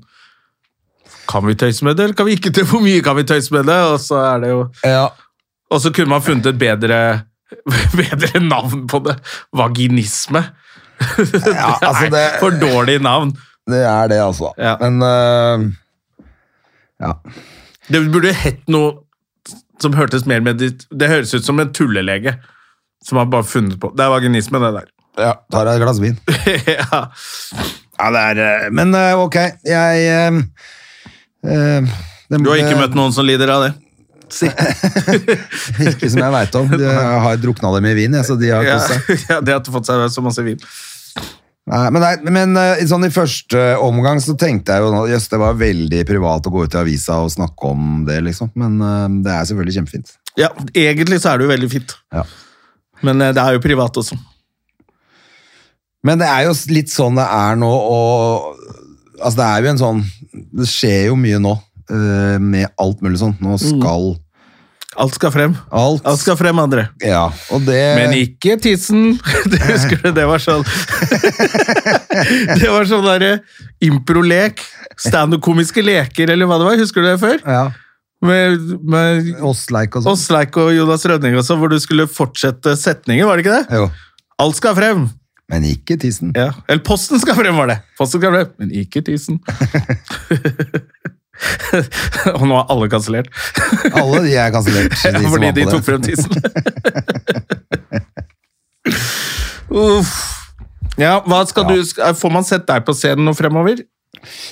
[SPEAKER 2] Kan vi tøyse med det, eller kan vi ikke det? Hvor mye kan vi tøyse med det? Og så er det jo
[SPEAKER 1] Ja,
[SPEAKER 2] Og så kunne man funnet et bedre, bedre navn på det. Vaginisme.
[SPEAKER 1] Ja, altså
[SPEAKER 2] det
[SPEAKER 1] det-
[SPEAKER 2] er for dårlig navn.
[SPEAKER 1] det er det, altså.
[SPEAKER 2] Ja.
[SPEAKER 1] Men eh, ja.
[SPEAKER 2] Det burde hett noe som hørtes mer med Det høres ut som en tullelege som har bare funnet på Det er vaginisme, det der.
[SPEAKER 1] ja. Tar deg et glass vin.
[SPEAKER 2] ja.
[SPEAKER 1] Ja, det er eh, Men eh, ok, jeg eh, eh, det-
[SPEAKER 2] Du har ikke møtt noen som lider av det? Si.
[SPEAKER 1] Ikke som jeg veit om. De har drukna dem i vin, jeg, så de har
[SPEAKER 2] Ja,
[SPEAKER 1] kost seg.
[SPEAKER 2] ja, det at du har fått seg så masse vin.
[SPEAKER 1] Nei, men, nei, men eh, i sånn i første omgang så tenkte jeg jo nå, jøss, det var veldig privat å gå ut i avisa og snakke om det, liksom. Men eh, det er selvfølgelig kjempefint.
[SPEAKER 2] Ja, egentlig så er det jo veldig fint.
[SPEAKER 1] Ja.
[SPEAKER 2] Men eh, det er jo privat også.
[SPEAKER 1] Men det er jo litt sånn det er nå, og altså det er jo en sånn Det skjer jo mye nå eh, med alt mulig sånn.
[SPEAKER 2] Mm.
[SPEAKER 1] Nå skal
[SPEAKER 2] Alt skal frem.
[SPEAKER 1] alt
[SPEAKER 2] Alt skal frem, André.
[SPEAKER 1] Ja, og det
[SPEAKER 2] Men ikke tissen! Det husker du, det var sånn Det var sånn derre improlek. Standup-komiske leker, eller hva det var. Husker du det før?
[SPEAKER 1] Ja.
[SPEAKER 2] Med, med
[SPEAKER 1] Åsleik og sånn.
[SPEAKER 2] Åsleik og Jonas Rønning også, hvor du skulle fortsette setninger, var det ikke det?
[SPEAKER 1] Jo.
[SPEAKER 2] Alt skal frem!
[SPEAKER 1] Men ikke tissen.
[SPEAKER 2] Ja. Eller Posten skal frem, var det. Posten skal frem, men ikke tissen. og nå er alle kansellert.
[SPEAKER 1] Alle de er kansellert. de som
[SPEAKER 2] Fordi
[SPEAKER 1] var på
[SPEAKER 2] de
[SPEAKER 1] det.
[SPEAKER 2] tok frem tissen. Uff. Ja, hva skal du, sk- eh, Får man sett deg på scenen nå fremover?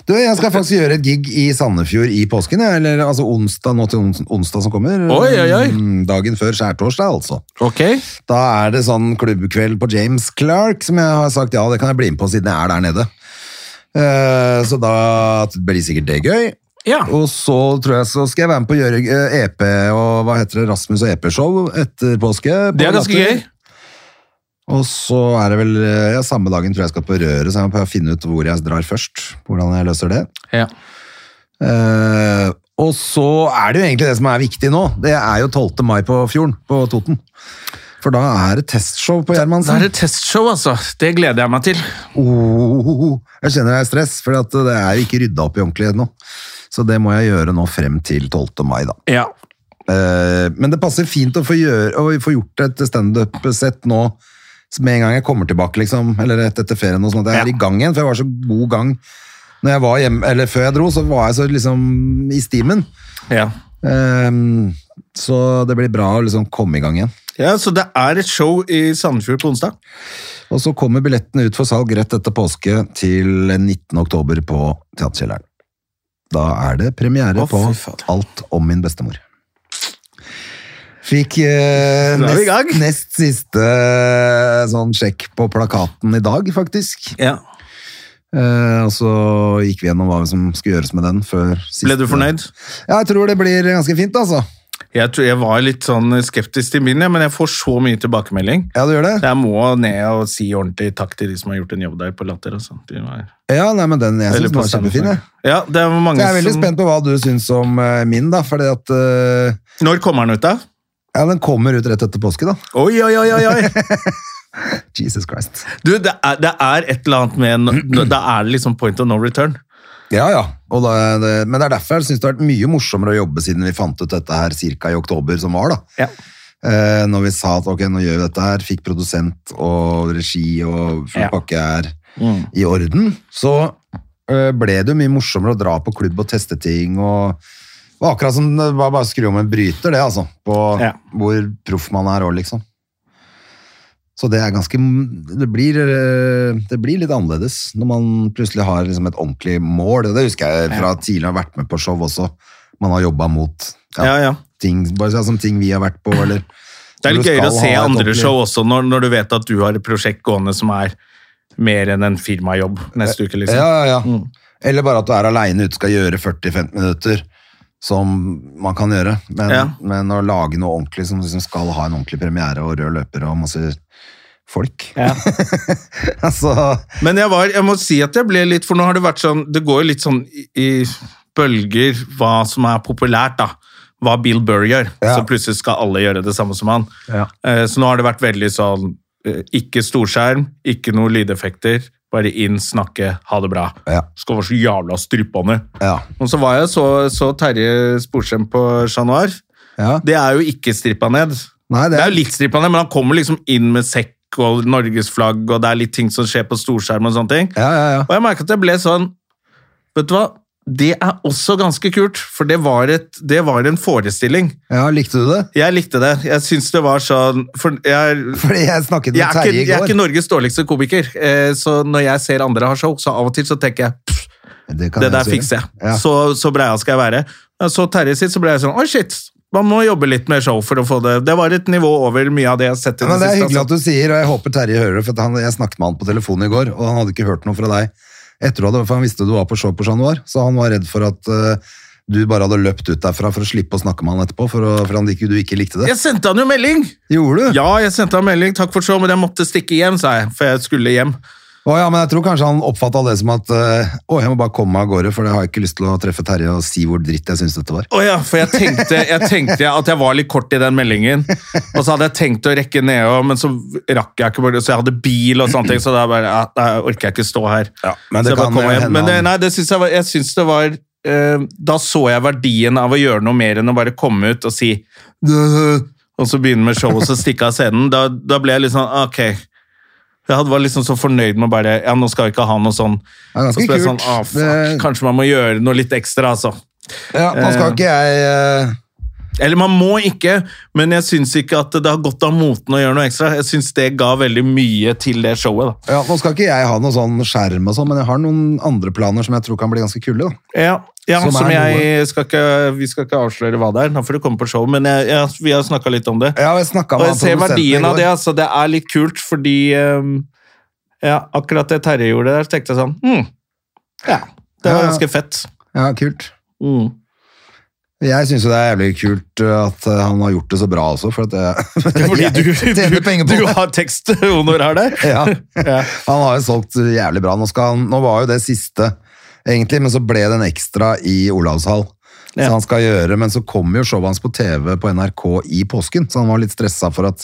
[SPEAKER 1] Du, jeg skal faktisk gjøre et gig i Sandefjord i påsken, jeg, eller altså onsdag, nå til ons- onsdag som kommer.
[SPEAKER 2] Oi, oi, oi.
[SPEAKER 1] Mm, Dagen før skjærtorsdag, altså.
[SPEAKER 2] Ok.
[SPEAKER 1] Da er det sånn klubbkveld på James Clark, som jeg har sagt ja, det kan jeg bli med på siden jeg er der nede. Eh, Så da blir sikkert det gøy.
[SPEAKER 2] Ja.
[SPEAKER 1] Og så tror jeg så skal jeg være med på å gjøre eh, EP og hva heter det, Rasmus og EP-show etter påske. på
[SPEAKER 2] Det er ganske
[SPEAKER 1] Latter.
[SPEAKER 2] gøy.
[SPEAKER 1] Og så er det vel, eh, ja, samme dagen tror jeg jeg skal på røret, så jeg må prøve å finne ut hvor jeg drar først, hvordan jeg løser det.
[SPEAKER 2] Ja.
[SPEAKER 1] Eh, og så er det jo egentlig det som er viktig nå. Det er jo 12. mai på Fjorden, på Toten. For da er det testshow på
[SPEAKER 2] Da er
[SPEAKER 1] Gjermansen.
[SPEAKER 2] det testshow, altså. Det gleder jeg meg til.
[SPEAKER 1] Oh, jeg kjenner det er stress, for at det er jo ikke rydda opp i ordentlig ennå. Så det må jeg gjøre nå frem til 12. mai, da.
[SPEAKER 2] Ja.
[SPEAKER 1] Eh, men det passer fint å få, gjøre, å få gjort et standup-sett nå med en gang jeg kommer tilbake, liksom. Eller rett etter ferien, og sånn at jeg er
[SPEAKER 2] Ja.
[SPEAKER 1] i gang igjen. For jeg var så god gang når jeg var hjemme, eller før jeg dro, så var jeg så liksom i stimen.
[SPEAKER 2] ja.
[SPEAKER 1] Ehm, så det blir bra å liksom komme i gang igjen.
[SPEAKER 2] Ja, Så det er et show i Sandefjord på onsdag?
[SPEAKER 1] Og så kommer billettene ut for salg rett etter påske til 19. oktober på Teaterkjelleren. Da er det premiere
[SPEAKER 2] Å,
[SPEAKER 1] på
[SPEAKER 2] fy fader.
[SPEAKER 1] Alt om min bestemor. Fikk eh,
[SPEAKER 2] Da er vi i
[SPEAKER 1] nest,
[SPEAKER 2] gang.
[SPEAKER 1] nest siste eh, sånn sjekk på plakaten i dag, faktisk.
[SPEAKER 2] Ja.
[SPEAKER 1] Eh, og så gikk vi gjennom hva som skulle gjøres med den før siste
[SPEAKER 2] Ble du fornøyd?
[SPEAKER 1] Ja, jeg tror det blir ganske fint, altså.
[SPEAKER 2] Jeg, tror jeg var litt sånn skeptisk til min, ja, men jeg får så mye tilbakemelding.
[SPEAKER 1] Ja, du gjør det?
[SPEAKER 2] Jeg må ned og si ordentlig takk til de som har gjort en jobb der på Latter. Og sånt. De var,
[SPEAKER 1] Ja, nei, men den jeg
[SPEAKER 2] eller
[SPEAKER 1] syns
[SPEAKER 2] på
[SPEAKER 1] var kjempefin, jeg.
[SPEAKER 2] Sandefjord. Ja, det er mange
[SPEAKER 1] Så jeg er veldig
[SPEAKER 2] som...
[SPEAKER 1] spent på hva du syns om eh, min, da. Fordi at eh,
[SPEAKER 2] Når kommer den ut, da?
[SPEAKER 1] Ja, den kommer ut rett etter påske, da.
[SPEAKER 2] Oi, oi, oi, oi! oi.
[SPEAKER 1] Jesus Christ.
[SPEAKER 2] Du, det er, det er et eller annet med en- nå- Da er det liksom point of no return.
[SPEAKER 1] Ja, ja. Og da, er det, men det er derfor jeg syns det har vært mye morsommere å jobbe siden vi fant ut dette her cirka i oktober som var, da.
[SPEAKER 2] Ja.
[SPEAKER 1] Eh, når vi sa at ok, nå gjør vi dette her, fikk produsent og regi og full
[SPEAKER 2] Ja. Mm.
[SPEAKER 1] pakke er i orden, så eh, ble det jo mye morsommere å dra på klubb og teste ting og det var akkurat som det var bare å skru om en bryter, det altså, på
[SPEAKER 2] Ja.
[SPEAKER 1] hvor proff man er òg, liksom. Så det er ganske det blir, eh, det blir litt annerledes når man plutselig har liksom et ordentlig mål. Det husker jeg fra tidligere, jeg har vært med på show også. Man har jobba mot ja,
[SPEAKER 2] Ja, ja.
[SPEAKER 1] ting, bare sånn som ting vi har vært på, eller
[SPEAKER 2] Det er
[SPEAKER 1] Når
[SPEAKER 2] litt
[SPEAKER 1] du
[SPEAKER 2] gøyere å
[SPEAKER 1] skal
[SPEAKER 2] se
[SPEAKER 1] ha et
[SPEAKER 2] andre
[SPEAKER 1] ordentlig-
[SPEAKER 2] show også, når, når du vet at du har et prosjekt gående som er mer enn en firmajobb neste uke, liksom.
[SPEAKER 1] Ja, ja, ja. Eller bare at du er aleine ute og skal gjøre 40-15 minutter, som man kan gjøre. Men,
[SPEAKER 2] Ja.
[SPEAKER 1] men å lage noe ordentlig som liksom skal ha en ordentlig premiere og rød løper og masse folk altså,
[SPEAKER 2] Men jeg, var, jeg må si at jeg ble litt For nå har det vært sånn Det går jo litt sånn i, i bølger hva som er populært, da. Hva Bill Burr gjør.
[SPEAKER 1] Ja.
[SPEAKER 2] Så plutselig skal alle gjøre det samme som han.
[SPEAKER 1] Ja.
[SPEAKER 2] Eh, Så nå har det vært veldig sånn eh, Ikke storskjerm, ikke noe lydeffekter. Bare inn, snakke, ha det bra.
[SPEAKER 1] Ja.
[SPEAKER 2] Skal være så jævla strypebånder.
[SPEAKER 1] Ja.
[SPEAKER 2] Og så var jeg så, så Terje Sporsem på Chat Noir.
[SPEAKER 1] Ja.
[SPEAKER 2] Det er jo ikke strippa ned.
[SPEAKER 1] Nei,
[SPEAKER 2] Det er jo litt strippa ned, men han kommer liksom inn med sekk og norgesflagg, og det er litt ting som skjer på storskjerm og sånne ting.
[SPEAKER 1] Ja, ja, ja.
[SPEAKER 2] Og jeg merket at jeg ble sånn Vet du hva? Det er også ganske kult, for det var, et, det var en forestilling.
[SPEAKER 1] ja, likte du det?
[SPEAKER 2] Jeg likte det. Jeg syns det var sånn For jeg,
[SPEAKER 1] Fordi jeg snakket
[SPEAKER 2] jeg,
[SPEAKER 1] med
[SPEAKER 2] er ikke,
[SPEAKER 1] Terje i
[SPEAKER 2] jeg er
[SPEAKER 1] går.
[SPEAKER 2] ikke Norges dårligste komiker, eh, så når jeg ser andre har show, så av og til så tenker jeg pff,
[SPEAKER 1] det, kan
[SPEAKER 2] det der
[SPEAKER 1] si.
[SPEAKER 2] fikser jeg.
[SPEAKER 1] Ja.
[SPEAKER 2] Så, så breia skal jeg være. Jeg Så Terje sitt, så ble jeg sånn Å, shit! Man må jobbe litt med show for å få det Det var et nivå over mye av det jeg har sett i
[SPEAKER 1] Ja, men det er hyggelig at
[SPEAKER 2] altså.
[SPEAKER 1] du sier, og jeg håper Terje hører det, for at han, jeg snakket med han på telefonen i går, og han hadde ikke hørt noe fra deg etter det, for han visste du var på show på Chat Noir, så han var redd for at eh, du bare hadde løpt ut derfra for å slippe å snakke med han etterpå, for, å, for han ikke, du ikke likte det.
[SPEAKER 2] Jeg sendte han jo melding!
[SPEAKER 1] Gjorde du?
[SPEAKER 2] Ja, jeg sendte han melding. Takk for show, men jeg måtte stikke hjem, sa jeg. For jeg skulle hjem.
[SPEAKER 1] Å ja, men jeg tror kanskje han oppfattet det som at, eh, å, jeg må bare komme meg av gårde, for jeg har ikke lyst til å treffe Terje og si hvor dritt jeg synes dette var.
[SPEAKER 2] Å ja, for jeg tenkte, jeg tenkte at jeg var litt kort i den meldingen. Og så hadde jeg tenkt å rekke nedom, men så rakk jeg ikke. Så jeg hadde bil og sånne ting, så da bare, ja, da orker jeg ikke stå her.
[SPEAKER 1] men
[SPEAKER 2] Så
[SPEAKER 1] det
[SPEAKER 2] jeg bare
[SPEAKER 1] kan
[SPEAKER 2] kom
[SPEAKER 1] hende
[SPEAKER 2] hjem. Men det,
[SPEAKER 1] han-
[SPEAKER 2] nei, det syns jeg var, jeg syns det var eh, Da så jeg verdien av å gjøre noe mer enn å bare komme ut og si «Døh», Og så begynne med showet og så stikke av scenen. Da, da ble jeg litt sånn ok. Jeg hadde- var liksom så fornøyd med bare Ja, nå skal jeg ikke ha noe sånn.
[SPEAKER 1] Ja, ganske
[SPEAKER 2] så ble jeg
[SPEAKER 1] kult.
[SPEAKER 2] sånn, ah,
[SPEAKER 1] Det-
[SPEAKER 2] fuck, Kanskje man må gjøre noe litt ekstra, altså.
[SPEAKER 1] Ja, nå skal ikke jeg... eh,
[SPEAKER 2] Eller man må ikke, men jeg syns ikke at det har gått av moten å gjøre noe ekstra. Jeg syns det ga veldig mye til det showet, da.
[SPEAKER 1] Ja, nå skal ikke jeg ha noe sånn skjerm og sånn, men jeg har noen andre planer som jeg tror kan bli ganske kule, da.
[SPEAKER 2] Ja, ja
[SPEAKER 1] Som
[SPEAKER 2] som,
[SPEAKER 1] er
[SPEAKER 2] jeg skal ikke, Vi skal ikke avsløre hva det er, da får du komme på show, men jeg, jeg, vi har snakka litt om det.
[SPEAKER 1] Ja, jeg snakket
[SPEAKER 2] Og
[SPEAKER 1] med
[SPEAKER 2] jeg
[SPEAKER 1] han
[SPEAKER 2] ser
[SPEAKER 1] produsenten i
[SPEAKER 2] verdien av
[SPEAKER 1] går.
[SPEAKER 2] det, altså. Det er litt kult, fordi ehm, ja, akkurat det Terje gjorde der, så tenkte jeg sånn hm, Ja, det var
[SPEAKER 1] Ja, ja.
[SPEAKER 2] ganske fett.
[SPEAKER 1] Ja, kult.
[SPEAKER 2] Mm.
[SPEAKER 1] Jeg syns jo det er jævlig kult uh, at uh, han har gjort det så bra også, for at jeg,
[SPEAKER 2] Fordi
[SPEAKER 1] jeg
[SPEAKER 2] du,
[SPEAKER 1] tjener penger
[SPEAKER 2] du,
[SPEAKER 1] på
[SPEAKER 2] du
[SPEAKER 1] det.
[SPEAKER 2] har teksthonorar der?
[SPEAKER 1] Ja.
[SPEAKER 2] Ja.
[SPEAKER 1] Han har jo solgt uh, jævlig bra. Nå, skal han, nå var jo det siste, egentlig, men så ble det en ekstra i Olavshall. Så
[SPEAKER 2] Ja.
[SPEAKER 1] han skal gjøre, Men så kommer jo showet hans på TV på NRK i påsken, så han var litt stressa for at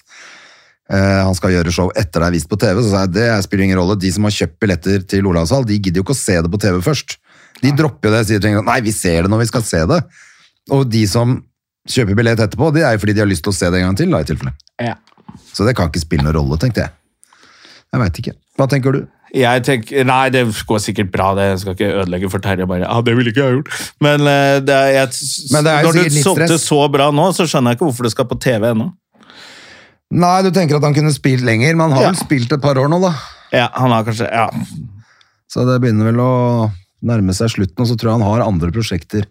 [SPEAKER 1] uh, han skal gjøre show etter det er vist på TV. Så sa jeg det spiller ingen rolle. De som har kjøpt billetter til Olavshall, de gidder jo ikke å se det på TV først. De dropper jo det. sier tenker, Nei, vi ser det når vi skal se det. Og de som kjøper billett etterpå, det er jo fordi de har lyst til å se det en gang til, da, i tilfelle.
[SPEAKER 2] Ja.
[SPEAKER 1] Så det kan ikke spille noen rolle, tenkte jeg. Jeg veit ikke. Hva tenker du?
[SPEAKER 2] Jeg tenker, Nei, det går sikkert bra. det Jeg skal ikke ødelegge for Terje. bare, ah, det ville ikke jeg gjort. Men, eh, det er, jeg,
[SPEAKER 1] Men det er jo
[SPEAKER 2] når
[SPEAKER 1] sikkert
[SPEAKER 2] du
[SPEAKER 1] litt
[SPEAKER 2] solgte
[SPEAKER 1] stress.
[SPEAKER 2] så bra nå, så skjønner jeg ikke hvorfor det skal på TV ennå.
[SPEAKER 1] Nei, du tenker at han kunne spilt lenger, men han har
[SPEAKER 2] Ja.
[SPEAKER 1] vel spilt et par år nå, da.
[SPEAKER 2] Ja, han har kanskje, ja.
[SPEAKER 1] Så det begynner vel å nærme seg slutten, og så tror jeg han har andre prosjekter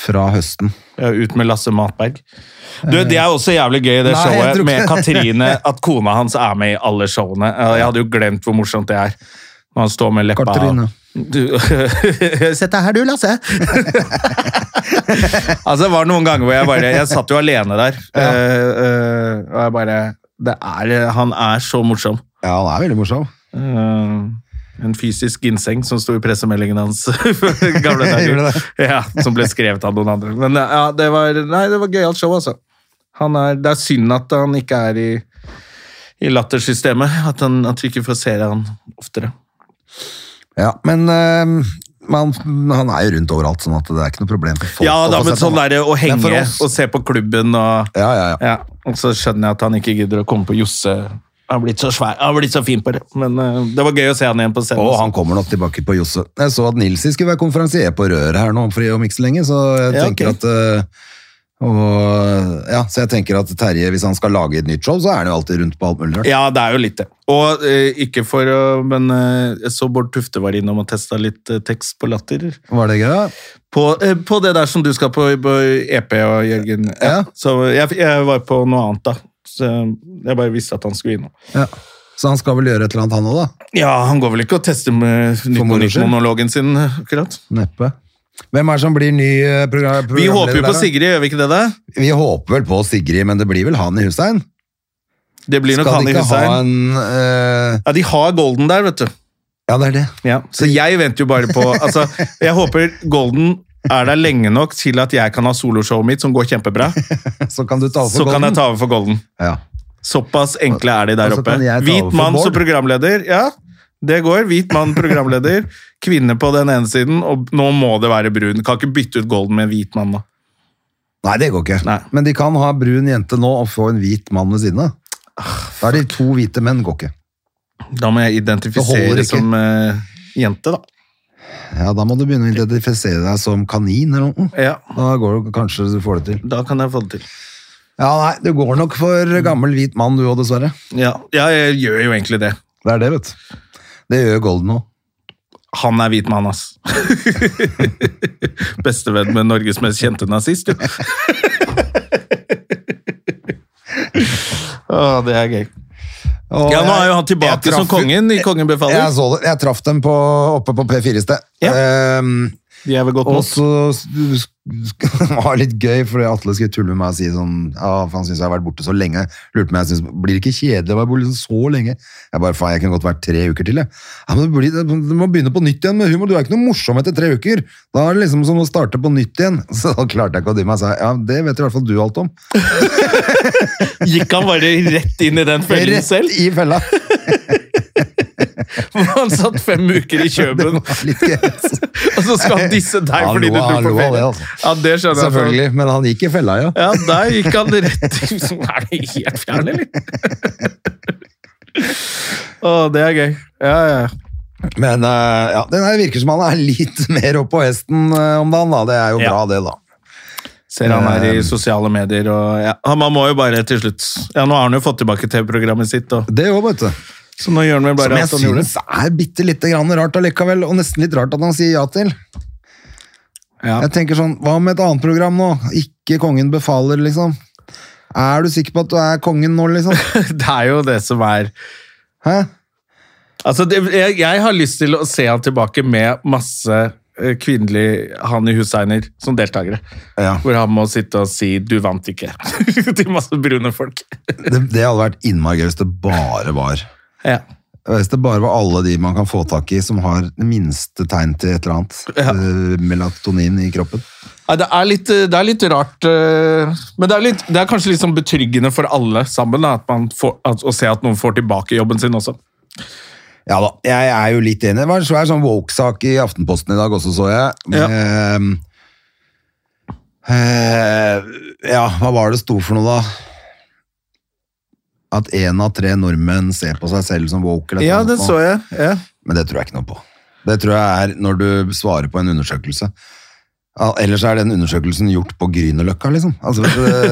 [SPEAKER 1] fra høsten.
[SPEAKER 2] ja, Ut med Lasse Matberg. Du, Det er også jævlig gøy, det
[SPEAKER 1] Nei, jeg
[SPEAKER 2] showet
[SPEAKER 1] tror ikke-
[SPEAKER 2] med Katrine. At kona hans er med i alle showene. Eh, Jeg hadde jo glemt hvor morsomt det er. Når han står med leppa
[SPEAKER 1] Katrine.
[SPEAKER 2] Du, Sett deg her du, Lasse! altså, det var noen ganger hvor jeg bare Jeg satt jo alene der. eh, eh, og jeg bare det er, Han er så morsom.
[SPEAKER 1] Ja, han er veldig morsom.
[SPEAKER 2] Eh, en fysisk ginseng som sto i pressemeldingen hans.
[SPEAKER 1] Gjorde
[SPEAKER 2] gamle dager.
[SPEAKER 1] det?
[SPEAKER 2] Ja, som ble skrevet av noen andre. Men eh, ja, det var, nei, det var gøyalt show, altså. Han er, det er synd at han ikke er i, i lattersystemet. At, han, at vi ikke får se han oftere.
[SPEAKER 1] Ja, men øhm, man, han er jo rundt overalt, sånn at det er ikke noe problem for folk.
[SPEAKER 2] Ja,
[SPEAKER 1] å
[SPEAKER 2] da,
[SPEAKER 1] få
[SPEAKER 2] men
[SPEAKER 1] sett
[SPEAKER 2] sånn
[SPEAKER 1] han.
[SPEAKER 2] der å
[SPEAKER 1] Men for
[SPEAKER 2] henge
[SPEAKER 1] oss-
[SPEAKER 2] og se på klubben og
[SPEAKER 1] Ja, ja, ja.
[SPEAKER 2] ja, og så skjønner jeg at han ikke gidder å komme på Josse. Han har blitt så svær, han har blitt så fin på det. Men eh, det var gøy å se han igjen på scenen.
[SPEAKER 1] Og han kommer nok tilbake på Josse. Jeg så at Nilsi skulle være konferansier på Røret her nå for om ikke så lenge, så jeg
[SPEAKER 2] Ja,
[SPEAKER 1] tenker
[SPEAKER 2] ok.
[SPEAKER 1] at øh, og, ja, så jeg tenker at Terje, hvis han skal lage et nytt show, så er han jo alltid rundt på alt mulig rart.
[SPEAKER 2] Ja, det er jo litt det. Og eh, ikke for å Men eh, jeg så Bård Tufte var innom og testa litt eh, tekst på latter.
[SPEAKER 1] Var det gøy? da?
[SPEAKER 2] På, eh, på det der som du skal på, på EP og Jørgen.
[SPEAKER 1] Ja.
[SPEAKER 2] Så jeg, jeg var på noe annet, da. Så jeg bare visste at han skulle innom.
[SPEAKER 1] Ja. Så han skal vel gjøre et eller annet, han òg, da?
[SPEAKER 2] Ja, han går vel ikke og tester med
[SPEAKER 1] moro skyld.
[SPEAKER 2] monologen sin, eh, akkurat.
[SPEAKER 1] Neppe. Hvem er det som blir ny eh, progra- programleder?
[SPEAKER 2] Vi håper jo
[SPEAKER 1] der,
[SPEAKER 2] på
[SPEAKER 1] da?
[SPEAKER 2] Sigrid, gjør vi ikke det? da?
[SPEAKER 1] Vi håper vel på Sigrid, men det blir vel han i Hussein?
[SPEAKER 2] Det blir nok
[SPEAKER 1] Skal
[SPEAKER 2] han
[SPEAKER 1] de
[SPEAKER 2] i
[SPEAKER 1] ikke ha
[SPEAKER 2] Hussein.
[SPEAKER 1] en eh,
[SPEAKER 2] Ja, de har Golden der, vet du.
[SPEAKER 1] Ja, det er det.
[SPEAKER 2] Ja, så jeg venter jo bare på Altså, jeg håper Golden er der lenge nok til at jeg kan ha soloshowet mitt, som går kjempebra,
[SPEAKER 1] Så kan du ta over
[SPEAKER 2] så
[SPEAKER 1] for
[SPEAKER 2] kan jeg
[SPEAKER 1] Golden.
[SPEAKER 2] ta over for Golden.
[SPEAKER 1] Ja.
[SPEAKER 2] Såpass enkle er de der
[SPEAKER 1] Og så
[SPEAKER 2] oppe.
[SPEAKER 1] kan jeg ta over
[SPEAKER 2] Hvit
[SPEAKER 1] for
[SPEAKER 2] mann
[SPEAKER 1] Bård.
[SPEAKER 2] som programleder, ja, det går. Hvit mann programleder, kvinne på den ene siden, og nå må det være brun. Kan ikke bytte ut Golden med en hvit mann, da.
[SPEAKER 1] Nei, det går ikke.
[SPEAKER 2] Nei.
[SPEAKER 1] Men de kan ha brun jente nå og få en hvit mann ved siden av. Da er de to hvite menn, går ikke.
[SPEAKER 2] Da må jeg
[SPEAKER 1] Det holder
[SPEAKER 2] identifisere
[SPEAKER 1] ikke.
[SPEAKER 2] som eh, jente, da.
[SPEAKER 1] Ja, Da må du begynne å identifisere deg som kanin eller noe.
[SPEAKER 2] Ja,
[SPEAKER 1] Da går det, kanskje du får det til.
[SPEAKER 2] da kan jeg få det til.
[SPEAKER 1] Ja, nei, Du går nok for gammel hvit mann du òg, dessverre.
[SPEAKER 2] Ja, ja jeg gjør jo egentlig det.
[SPEAKER 1] Det er det, vet du. Det gjør Golden òg.
[SPEAKER 2] Han er hvit mann, ass. Bestevenn med Norges mest kjente nazist, jo. Å, det er gøy.
[SPEAKER 1] Og
[SPEAKER 2] Ja, nå er jo han
[SPEAKER 1] jeg-
[SPEAKER 2] tilbake
[SPEAKER 1] jeg
[SPEAKER 2] som
[SPEAKER 1] traff-
[SPEAKER 2] kongen i Kongen befaler.
[SPEAKER 1] Jeg, så det. jeg traff dem på, oppe på P4 i sted.
[SPEAKER 2] Ja.
[SPEAKER 1] Ehm,
[SPEAKER 2] De er vel godt
[SPEAKER 1] og
[SPEAKER 2] mot.
[SPEAKER 1] så det var det litt gøy, fordi Atle skulle tulle med meg og si sånn ja, for Han syns jeg har vært borte så lenge. Lurte på meg, jeg synes, Blir det ikke kjedelig å være borte så lenge? Jeg bare, faen, jeg kunne godt vært tre uker til, jeg. Ja, men det blir, du må begynne på nytt igjen med humor. Du er ikke noe morsom etter tre uker. Da er det liksom som å starte på nytt igjen. Så da klarte jeg ikke å dy meg. Så jeg, ja, det vet i hvert fall du alt om.
[SPEAKER 2] Gikk han bare rett inn i den fellen selv?
[SPEAKER 1] Rett i fella.
[SPEAKER 2] Han satt fem uker i Kjøben,
[SPEAKER 1] Det var litt gøy.
[SPEAKER 2] og så skal han disse deg
[SPEAKER 1] Han
[SPEAKER 2] fordi
[SPEAKER 1] lo-
[SPEAKER 2] du
[SPEAKER 1] han lo
[SPEAKER 2] dro på
[SPEAKER 1] av det,
[SPEAKER 2] ferie.
[SPEAKER 1] altså.
[SPEAKER 2] Ja, det skjønner jeg.
[SPEAKER 1] Selvfølgelig, men han gikk i fella, ja.
[SPEAKER 2] Ja, der gikk han rett i Er det helt fjern, eller? Å, det er gøy. Ja, ja.
[SPEAKER 1] Men eh, ja, det der virker som han er litt mer oppå hesten eh, om dagen, da. Det er jo
[SPEAKER 2] Ja.
[SPEAKER 1] bra, det, da.
[SPEAKER 2] Ser han er i sosiale medier og ja, han- Man må jo bare til slutt Ja, nå har han jo fått tilbake TV-programmet sitt, og,
[SPEAKER 1] Det òg, vet du.
[SPEAKER 2] så nå gjør han vel
[SPEAKER 1] Som
[SPEAKER 2] bare
[SPEAKER 1] jeg
[SPEAKER 2] at han gjorde
[SPEAKER 1] synes er bitte lite grann rart allikevel, og nesten litt rart at han sier ja til.
[SPEAKER 2] Ja.
[SPEAKER 1] Jeg tenker sånn, hva med et annet program nå? Ikke Kongen befaler, liksom. Er du sikker på at du er kongen nå, liksom?
[SPEAKER 2] Det er jo det som er
[SPEAKER 1] Hæ?
[SPEAKER 2] Altså, det, jeg, jeg har lyst til å se han tilbake med masse eh, kvinnelig Hani Husseiner som deltakere.
[SPEAKER 1] Ja.
[SPEAKER 2] Hvor han må sitte og si 'du vant ikke' til masse brune folk.
[SPEAKER 1] Det, det hadde vært innmari gøy hvis det bare var
[SPEAKER 2] Ja.
[SPEAKER 1] Hvis det bare var alle de man kan få tak i som har det minste tegn til et eller annet.
[SPEAKER 2] Ja.
[SPEAKER 1] eh, melatonin i kroppen.
[SPEAKER 2] Nei, det er litt, det er litt rart eh, Men det er, litt, det er kanskje litt sånn betryggende for alle sammen da, at man får, at, å se at noen får tilbake jobben sin også.
[SPEAKER 1] Ja da, jeg er jo litt enig. Det var en svær sånn woke-sak i Aftenposten i dag også, så jeg.
[SPEAKER 2] Ja.
[SPEAKER 1] Ehm, eh, ja, hva var det sto for noe da? At en av tre nordmenn ser på seg selv som woke. Eller et eller annet sånt.
[SPEAKER 2] jeg.
[SPEAKER 1] Men det tror jeg ikke noe på. Det tror jeg er når du svarer på en undersøkelse. Ja, Ellers er den undersøkelsen gjort på Grünerløkka, liksom. Altså,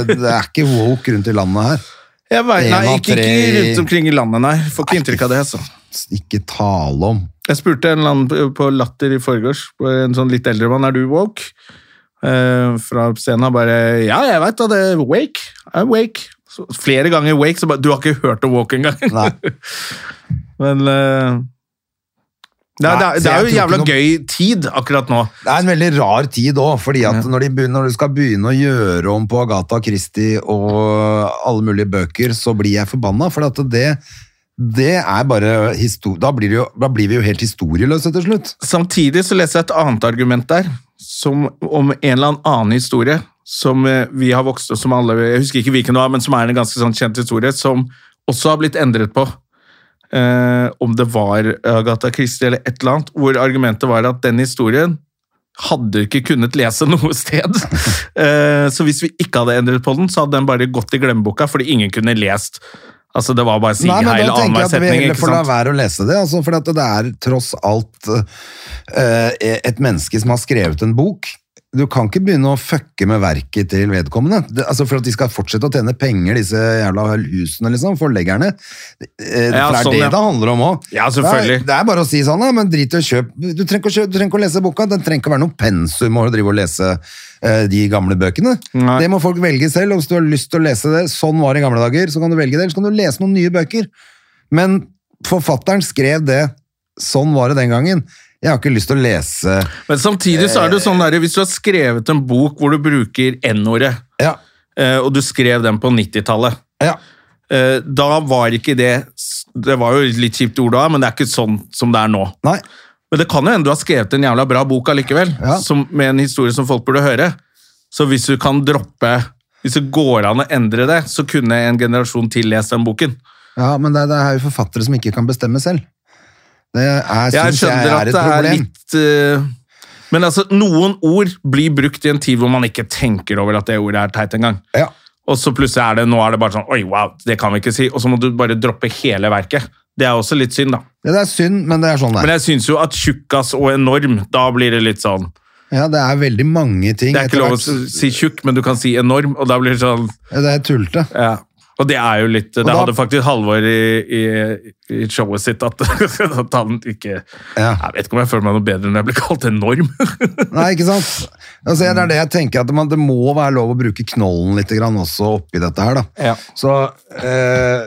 [SPEAKER 1] det, det er ikke woke rundt i landet her.
[SPEAKER 2] Jeg vet, nei,
[SPEAKER 1] En av
[SPEAKER 2] ikke, ikke
[SPEAKER 1] tre-
[SPEAKER 2] rundt omkring i landet, nei. Får ikke inntrykk av det. altså.
[SPEAKER 1] Ikke tale om.
[SPEAKER 2] Jeg spurte en eller annen på- på Latter i forgårs, på en sånn litt eldre mann, er du woke? Eh, fra scenen han bare Ja, jeg veit da, det er wake. Jeg er wake. Så, flere ganger wake, så bare Du har ikke hørt om woke engang?
[SPEAKER 1] Nei.
[SPEAKER 2] Men eh, det, er, det,
[SPEAKER 1] Nei,
[SPEAKER 2] er,
[SPEAKER 1] så
[SPEAKER 2] det er jo
[SPEAKER 1] jeg tror
[SPEAKER 2] jævla
[SPEAKER 1] ikke noe-
[SPEAKER 2] gøy tid akkurat nå.
[SPEAKER 1] Det er en veldig rar tid òg, fordi at når, de begynner, når du skal begynne å gjøre om på Agatha Christie og alle mulige bøker, så blir jeg forbanna, for at det, det er bare histo- da blir, det jo, da blir vi jo helt historieløse til slutt.
[SPEAKER 2] Samtidig så leser jeg et annet argument der, som om en eller annen annen historie som eh, vi har vokst opp som alle Jeg husker ikke hvilken det var, men som er en ganske sånn kjent historie, som også har blitt endret på. Eh, om det var Agatha Christie eller et eller annet, hvor argumentet var at den historien hadde ikke kunnet lese noe sted. Eh, så hvis vi ikke hadde endret på den, så hadde den bare gått i glemmeboka fordi ingen kunne lest. Altså, det var bare si
[SPEAKER 1] Nei,
[SPEAKER 2] hei
[SPEAKER 1] men
[SPEAKER 2] eller
[SPEAKER 1] da tenker jeg at
[SPEAKER 2] annenhver
[SPEAKER 1] vi
[SPEAKER 2] setning.
[SPEAKER 1] heller
[SPEAKER 2] ikke
[SPEAKER 1] får la
[SPEAKER 2] sant?
[SPEAKER 1] være å lese det, altså, for at det er tross alt eh, et menneske som har skrevet en bok. Du kan ikke begynne å fucke med verket til vedkommende. Det, altså For at de skal fortsette å tjene penger, disse jævla husene, liksom, forleggerne. Eh, for
[SPEAKER 2] Ja,
[SPEAKER 1] det er
[SPEAKER 2] sånn,
[SPEAKER 1] det
[SPEAKER 2] ja.
[SPEAKER 1] det handler om òg.
[SPEAKER 2] Ja,
[SPEAKER 1] Det,
[SPEAKER 2] selvfølgelig.
[SPEAKER 1] er- det er bare å si sånn, ja, men drit i å kjøpe. Du trenger ikke å, kjøpe, du trenger ikke å lese boka. Den trenger ikke å være noe pensum å drive og lese eh, de gamle bøkene.
[SPEAKER 2] Nei.
[SPEAKER 1] Det må folk velge selv. og Hvis du har lyst til å lese det, sånn var det i gamle dager, så kan du velge det. Eller så kan du lese noen nye bøker. Men forfatteren skrev det sånn var det den gangen. Jeg har ikke lyst til å lese
[SPEAKER 2] Men samtidig så er det jo sånn der, hvis du har skrevet en bok hvor du bruker N-ordet,
[SPEAKER 1] Ja.
[SPEAKER 2] eh, og du skrev den på 90-tallet,
[SPEAKER 1] ja.
[SPEAKER 2] eh, da var ikke det Det var jo et litt kjipt ord da, men det er ikke sånn som det er nå.
[SPEAKER 1] Nei.
[SPEAKER 2] Men det kan jo hende du har skrevet en jævla bra bok allikevel,
[SPEAKER 1] Ja.
[SPEAKER 2] som, med en historie som folk burde høre. Så hvis du kan droppe Hvis det går an å endre det, så kunne en generasjon til lest den boken.
[SPEAKER 1] Ja, men det, det er jo forfattere som ikke kan bestemme selv. Det er,
[SPEAKER 2] Jeg
[SPEAKER 1] synes jeg
[SPEAKER 2] skjønner
[SPEAKER 1] er
[SPEAKER 2] at
[SPEAKER 1] et
[SPEAKER 2] det er
[SPEAKER 1] problem.
[SPEAKER 2] litt eh, Men altså, noen ord blir brukt i en tid hvor man ikke tenker over at det ordet er teit engang.
[SPEAKER 1] Ja.
[SPEAKER 2] Og så plutselig er det nå er det bare sånn Oi, wow, det kan vi ikke si. Og så må du bare droppe hele verket. Det er også litt synd, da.
[SPEAKER 1] Ja, det er synd, men det er sånn det
[SPEAKER 2] Men
[SPEAKER 1] er.
[SPEAKER 2] jeg syns jo at tjukkas og enorm, da blir det litt sånn
[SPEAKER 1] Ja, det er veldig mange ting.
[SPEAKER 2] Det er ikke
[SPEAKER 1] etter
[SPEAKER 2] lov å
[SPEAKER 1] hvert.
[SPEAKER 2] si tjukk, men du kan si enorm, og da blir det sånn
[SPEAKER 1] Ja, Det er tulte.
[SPEAKER 2] ja. Og det er jo litt Det
[SPEAKER 1] da-
[SPEAKER 2] hadde faktisk Halvor i, i, i showet sitt at, at han ikke
[SPEAKER 1] Ja.
[SPEAKER 2] Jeg vet ikke om jeg føler meg noe bedre når jeg blir kalt enorm.
[SPEAKER 1] Nei, ikke sant? Altså, det er det jeg tenker, at man, det må være lov å bruke knollen litt grann også oppi dette her, da.
[SPEAKER 2] Ja.
[SPEAKER 1] Så, eh,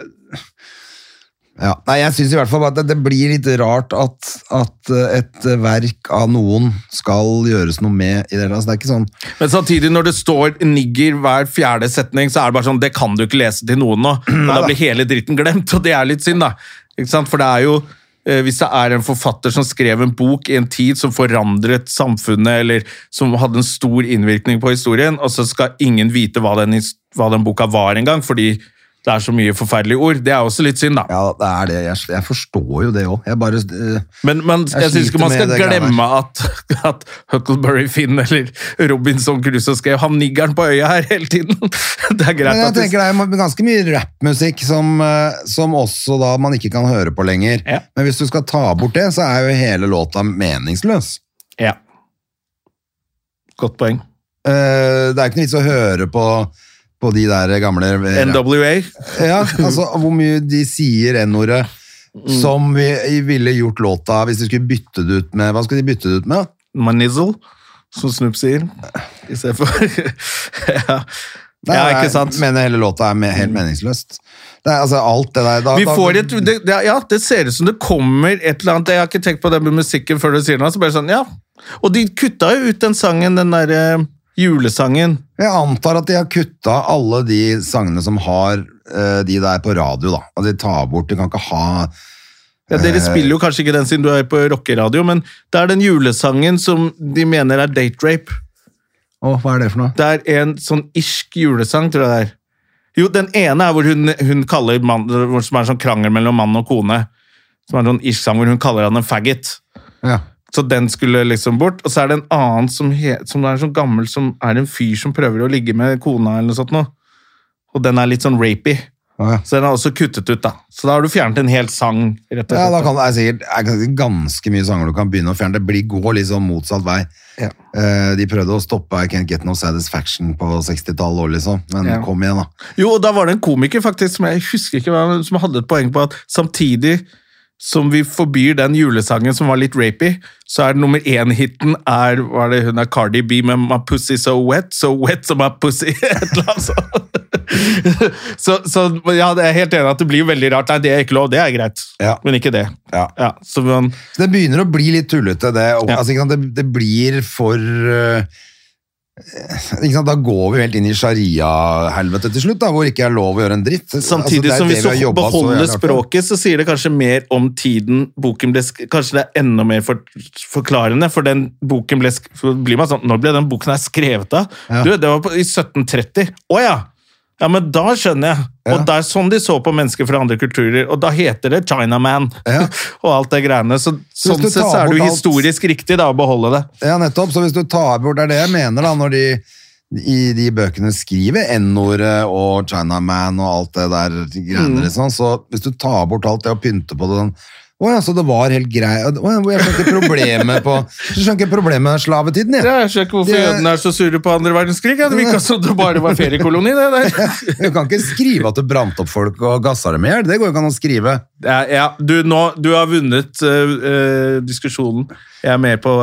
[SPEAKER 1] ja. Nei, jeg synes i hvert fall bare at det, det blir litt rart at, at eh, et verk av noen skal gjøres noe med i det hele tatt. Så Det er ikke sånn,
[SPEAKER 2] Men samtidig, når det står nigger hver fjerde setning, så er det bare sånn Det kan du ikke lese til noen nå. Og da blir hele dritten glemt, og det er litt synd, da. Ikke sant? For det er jo eh, hvis det er en forfatter som skrev en bok i en tid som forandret samfunnet, eller som hadde en stor innvirkning på historien, og så skal ingen vite hva den, his- hva den boka var engang, fordi det er så mye forferdelige ord. Det er også litt synd, da.
[SPEAKER 1] ja, det er det. Jeg, jeg forstår jo det også. Jeg bare... eh,
[SPEAKER 2] Men, men jeg,
[SPEAKER 1] Jeg
[SPEAKER 2] synes
[SPEAKER 1] sliter
[SPEAKER 2] ikke man
[SPEAKER 1] med
[SPEAKER 2] skal
[SPEAKER 1] det greiene
[SPEAKER 2] glemme at, at Huckleberry Finn eller Robinson Crusoe skrev 'Han niggeren på øya her' hele tiden. Det er greit
[SPEAKER 1] Men jeg
[SPEAKER 2] at
[SPEAKER 1] tenker
[SPEAKER 2] det,
[SPEAKER 1] det er ganske mye rappmusikk som, eh, som også da man ikke kan høre på lenger.
[SPEAKER 2] Ja.
[SPEAKER 1] Men hvis du skal ta bort det, så er jo hele låta meningsløs.
[SPEAKER 2] Ja. Godt poeng.
[SPEAKER 1] Eh, Det er ikke noe vits å høre på, på de der gamle
[SPEAKER 2] NWA.
[SPEAKER 1] Ja, altså hvor mye de sier N-ordet
[SPEAKER 2] Mm.
[SPEAKER 1] som vi ville gjort låta hvis de skulle bytte det ut med Hva skulle de bytte det ut med?
[SPEAKER 2] Manizzle, som Snoop sier. I stedet for ja.
[SPEAKER 1] Nei,
[SPEAKER 2] ja,
[SPEAKER 1] jeg
[SPEAKER 2] ikke sant?
[SPEAKER 1] mener hele låta er me- helt meningsløst. Det er altså alt det der da,
[SPEAKER 2] Vi
[SPEAKER 1] da-
[SPEAKER 2] får et, det, det, ja, det ser ut som det kommer et eller annet Jeg har ikke tenkt på det med musikken før du sier det. nå, Så bare sånn, ja. Og de kutta jo ut den sangen, den derre julesangen.
[SPEAKER 1] Jeg antar at de har kutta alle de sangene som har eh, de der på radio, da. At de tar bort De kan ikke ha
[SPEAKER 2] Ja, Dere
[SPEAKER 1] Eh.
[SPEAKER 2] spiller jo kanskje ikke den siden du er på rockeradio, men det er den julesangen som de mener er date rape.
[SPEAKER 1] Å, hva er det for noe?
[SPEAKER 2] Det er en sånn irsk julesang, tror jeg det er. Jo, den ene er hvor hun, hun kaller mann, hvor- som er en sånn krangel mellom mann og kone. Som er en sånn irsk sang hvor hun kaller han en faggot.
[SPEAKER 1] Ja.
[SPEAKER 2] Så den skulle liksom bort. Og så er det en annen som, he, som er sånn gammel, som er en fyr som prøver å ligge med kona eller noe sånt nå. Og den er litt sånn rapey.
[SPEAKER 1] Å, ja.
[SPEAKER 2] Så den er også kuttet ut, da. Så da har du fjernet en hel sang, rett og slett.
[SPEAKER 1] Ja, da kan det er sikkert er ganske- ganske mye sanger du kan begynne å fjerne. Det blir, går litt sånn motsatt vei.
[SPEAKER 2] Ja.
[SPEAKER 1] Eh, de prøvde å stoppe I Can't Get No Satisfaction på 60-tallet òg, liksom. Men
[SPEAKER 2] Ja.
[SPEAKER 1] kom igjen, da. Ja.
[SPEAKER 2] men ikke det.
[SPEAKER 1] Ja.
[SPEAKER 2] Ja, så man,
[SPEAKER 1] Så det begynner å bli litt tullete, det. Og,
[SPEAKER 2] Ja.
[SPEAKER 1] altså, ikke sant? det, det blir for eh, ikke sant? Da går vi jo helt inn i sharia-helvete til slutt, da, hvor ikke er lov å gjøre en dritt.
[SPEAKER 2] Samtidig
[SPEAKER 1] Altså, det er
[SPEAKER 2] som
[SPEAKER 1] det
[SPEAKER 2] hvis
[SPEAKER 1] har
[SPEAKER 2] du
[SPEAKER 1] jobbet så
[SPEAKER 2] beholder
[SPEAKER 1] jævlig hardt for.
[SPEAKER 2] språket, så sier det kanskje mer om tiden boken ble sk Kanskje det er enda mer for forklarende, for den boken ble sk for blir man sånn, Når ble den boken her skrevet av?
[SPEAKER 1] Ja.
[SPEAKER 2] Du, det var på, i 1730. Å ja! Ja, men da skjønner jeg. Og
[SPEAKER 1] Ja.
[SPEAKER 2] det er sånn de så på mennesker fra andre kulturer, og da heter det Chinaman
[SPEAKER 1] Ja.
[SPEAKER 2] og alt det greiene. Så,
[SPEAKER 1] hvis
[SPEAKER 2] sånn
[SPEAKER 1] du
[SPEAKER 2] sett
[SPEAKER 1] tar
[SPEAKER 2] så er det jo
[SPEAKER 1] bort alt-
[SPEAKER 2] historisk riktig da å beholde det.
[SPEAKER 1] Ja, nettopp. Så hvis du tar bort Det er det jeg mener, da, når de i de bøkene skriver N-ordet og Chinaman og alt det der greiene, liksom. Så hvis du tar bort alt det og pynter på det sånn Å ja, så det var helt grei Å ja, jeg skjønner ikke problemet på Jeg skjønner ikke problemet med slavetiden, jeg.
[SPEAKER 2] Ja, jeg skjønner ikke hvorfor
[SPEAKER 1] Det-
[SPEAKER 2] jødene er så sure på andre verdenskrig. Ja. Det virka som sånn det bare var feriekoloni, det der.
[SPEAKER 1] Du kan ikke skrive at du brant opp folk og gassa dem i hjel. Det går jo ikke an å skrive.
[SPEAKER 2] Ja, ja. Du, nå, du har vunnet eh, eh, diskusjonen. Jeg er med på,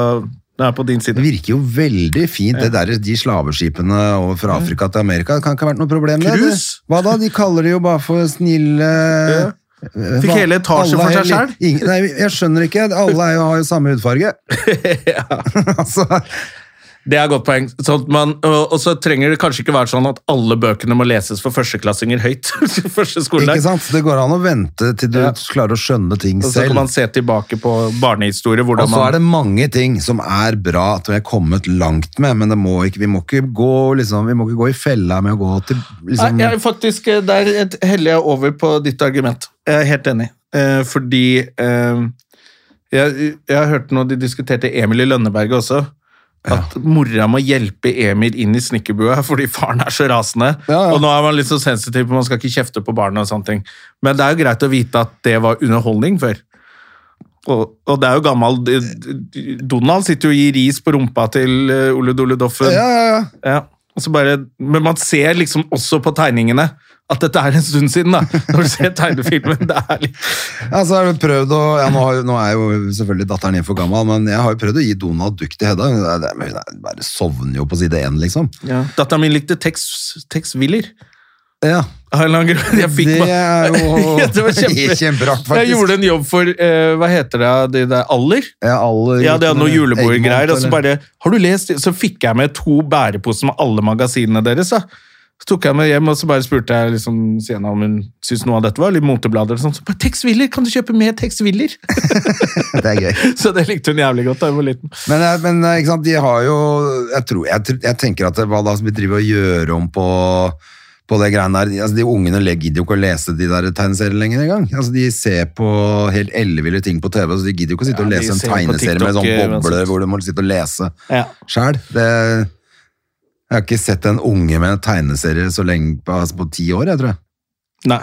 [SPEAKER 2] jeg er på din
[SPEAKER 1] Det
[SPEAKER 2] side.
[SPEAKER 1] virker jo veldig fint, det der, de slaveskipene over fra Afrika til Amerika. Det kan ikke ha vært noe problem. det.
[SPEAKER 2] Cruise?
[SPEAKER 1] Hva da? De kaller det jo bare for snille
[SPEAKER 2] Ja.
[SPEAKER 1] Eh,
[SPEAKER 2] Fikk
[SPEAKER 1] hva-
[SPEAKER 2] hele etasjen
[SPEAKER 1] alle
[SPEAKER 2] for
[SPEAKER 1] er
[SPEAKER 2] seg
[SPEAKER 1] helt-
[SPEAKER 2] selv?
[SPEAKER 1] ingen- Nei, jeg skjønner ikke. Alle er jo, har jo samme hudfarge. altså,
[SPEAKER 2] Det er et godt poeng. Sånn at man, og, og så trenger det kanskje ikke være sånn at alle bøkene må leses for førsteklassinger høyt. første skoledag.
[SPEAKER 1] Ikke sant? Det går an å vente til du
[SPEAKER 2] Ja.
[SPEAKER 1] klarer å skjønne ting
[SPEAKER 2] Og så kan
[SPEAKER 1] selv.
[SPEAKER 2] man se tilbake på barnehistorie.
[SPEAKER 1] Og
[SPEAKER 2] hvordan
[SPEAKER 1] så
[SPEAKER 2] man...
[SPEAKER 1] er det mange ting som er bra at vi er kommet langt med, men det må ikke, vi, må ikke gå, liksom, vi må ikke gå i fella med å gå til liksom,
[SPEAKER 2] Nei, jeg er faktisk, eh, Der et- heller jeg over på ditt argument. Jeg er helt enig. Eh, fordi eh, jeg, jeg har hørt noe de diskuterte Emil i Lønneberget også. At mora må hjelpe Emil inn i snekkerbua fordi faren er så rasende.
[SPEAKER 1] Ja, ja.
[SPEAKER 2] Og nå er man litt så sensitiv, for man skal ikke kjefte på barna. og sånne ting. Men det er jo greit å vite at det var underholdning før. Og, og det er jo gammel Donald sitter jo og gir ris på rumpa til eh, Ole Dole Doffen.
[SPEAKER 1] ja, ja, ja.
[SPEAKER 2] Ja, og så bare, Men man ser liksom også på tegningene at dette er en stund siden, da. Når du ser tegnefilmen. Det er litt
[SPEAKER 1] Ja, så har vi prøvd å, ja, nå, har, nå er jo selvfølgelig datteren din for gammel, men jeg har jo prøvd å gi Donald dukk til Hedda. Hun er- men Hun er- bare sovner jo på side én, liksom.
[SPEAKER 2] Datteren min likte Tex, Tex Willer.
[SPEAKER 1] Ja,
[SPEAKER 2] Av en eller annen grunn. Jeg fikk
[SPEAKER 1] Det er jo-
[SPEAKER 2] Ja, det var kjempe...
[SPEAKER 1] kjemperart, faktisk.
[SPEAKER 2] Jeg gjorde en jobb for eh, Hva heter det? Det der Aller?
[SPEAKER 1] ja, alle,
[SPEAKER 2] Ja, det hadde noen
[SPEAKER 1] Egmont,
[SPEAKER 2] julebordgreier, og så
[SPEAKER 1] eller-
[SPEAKER 2] bare Har du lest? det?» Så fikk jeg med to bæreposer med alle magasinene deres, da. Så tok jeg med hjem, og så bare spurte jeg liksom senere om hun syntes noe av dette var litt moteblader og sånn. Så bare Tex Willer! Kan du kjøpe mer Tex Willer?
[SPEAKER 1] Det er gøy.
[SPEAKER 2] Så det likte hun jævlig godt da jeg var liten.
[SPEAKER 1] Men, eh, men eh, ikke sant, de har jo Jeg, tror, jeg, tr- jeg tenker at det, hva da som vi driver og gjør om på på det greiene der, altså De ungene le- gidder jo ikke å lese de der tegneseriene lenger engang. Altså, de ser på helt elleville ting på TV, så de gidder jo ikke å sitte
[SPEAKER 2] Ja,
[SPEAKER 1] og
[SPEAKER 2] de
[SPEAKER 1] lese en
[SPEAKER 2] ser på
[SPEAKER 1] tegneserie med
[SPEAKER 2] TikTok, eh,
[SPEAKER 1] sånn boble
[SPEAKER 2] uansett.
[SPEAKER 1] hvor du må sitte og lese
[SPEAKER 2] Ja.
[SPEAKER 1] sjæl. Jeg har ikke sett en unge med en tegneserie så lenge, altså på ti år, jeg tror jeg.
[SPEAKER 2] Nei.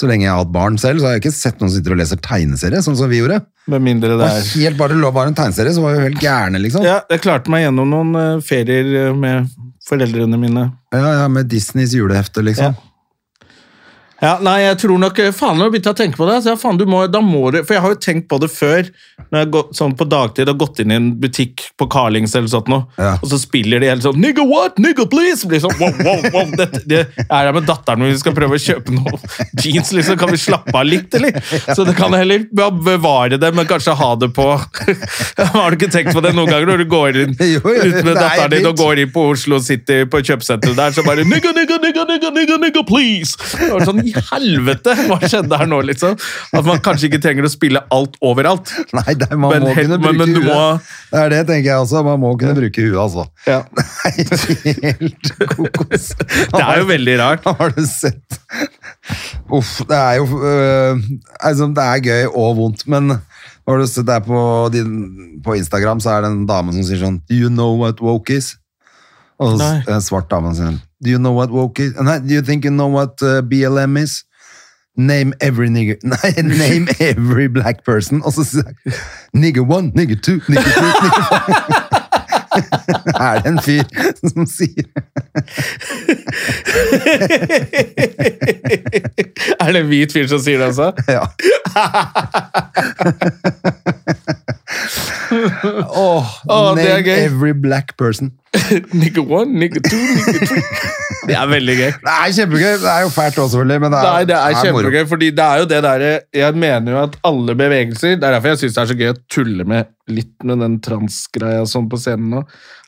[SPEAKER 1] Så lenge jeg har hatt barn selv, så har jeg ikke sett noen som sitter og leser tegneserie, sånn som vi gjorde.
[SPEAKER 2] Med mindre
[SPEAKER 1] Det
[SPEAKER 2] det
[SPEAKER 1] var
[SPEAKER 2] er
[SPEAKER 1] helt bare det lå bare en tegneserie, så var vi jo helt gærne, liksom.
[SPEAKER 2] Ja, jeg klarte meg gjennom noen eh, ferier eh, med foreldrene mine.
[SPEAKER 1] Ja, ja, med Disneys julehefte, liksom.
[SPEAKER 2] Ja, nei, jeg tror nok eh, Faen, nå begynte jeg å tenke på det. Så jeg, faen, du må, da må du, for jeg har jo tenkt på det før. Når jeg har gått, sånn på dagtid har gått inn i en butikk på Carlings eller sånt noe,
[SPEAKER 1] Ja.
[SPEAKER 2] og så spiller de helt sånn Nigga what? Nigga please! Blir sånn, wow, wow, wow. Dette, det, jeg er her med datteren min, vi skal prøve å kjøpe noe jeans, liksom. Kan vi slappe av litt, eller? Så det kan heller ja, bevare det, men kanskje ha det på Har du ikke tenkt på det noen ganger når du går inn
[SPEAKER 1] Jo, jo,
[SPEAKER 2] ut
[SPEAKER 1] det
[SPEAKER 2] med
[SPEAKER 1] er
[SPEAKER 2] datteren din og
[SPEAKER 1] litt.
[SPEAKER 2] går går inn på Oslo City på kjøpesenteret der, så bare nigga, nigga, nigga, nigga, nigga, nigga, please! Det var sånn, i helvete, hva skjedde her nå, liksom? At man kanskje ikke trenger å spille alt overalt.
[SPEAKER 1] Nei, det, man
[SPEAKER 2] Men
[SPEAKER 1] må
[SPEAKER 2] helt-
[SPEAKER 1] kunne
[SPEAKER 2] men-
[SPEAKER 1] bruke
[SPEAKER 2] men du
[SPEAKER 1] huet.
[SPEAKER 2] må-
[SPEAKER 1] Det er det, tenker jeg også. Man må kunne bruke huet, altså.
[SPEAKER 2] Ja.
[SPEAKER 1] Nei, helt kokos.
[SPEAKER 2] Det er jo veldig rart.
[SPEAKER 1] Har du sett Uff, det er jo øh, altså, Det er gøy og vondt, men har du sett der på, din, på Instagram, så er det en dame som sier sånn Do you know what woke is? Og så,
[SPEAKER 2] Nei.
[SPEAKER 1] en svart dame som sier Do you know what woke is? Nei, do you think you know what uh, BLM is? Name every nigger Nei, name every black person. Og så sier jeg Nigger one, nigger two, nigger three, nigger four. er det en fyr som sier
[SPEAKER 2] Er det en hvit fyr som sier det, altså?
[SPEAKER 1] Ja. Åh,
[SPEAKER 2] Åh, det er
[SPEAKER 1] name
[SPEAKER 2] gøy.
[SPEAKER 1] every black person.
[SPEAKER 2] Nigga one, nigga two, nigga three. Det er veldig gøy.
[SPEAKER 1] Det er kjempegøy. Det er jo fælt også, selvfølgelig, men det er,
[SPEAKER 2] Nei, det er
[SPEAKER 1] moro.
[SPEAKER 2] kjempegøy, fordi det er jo det derre Jeg mener jo at alle bevegelser Det er derfor jeg syns det er så gøy å tulle med litt med den transgreia sånn på scenen nå.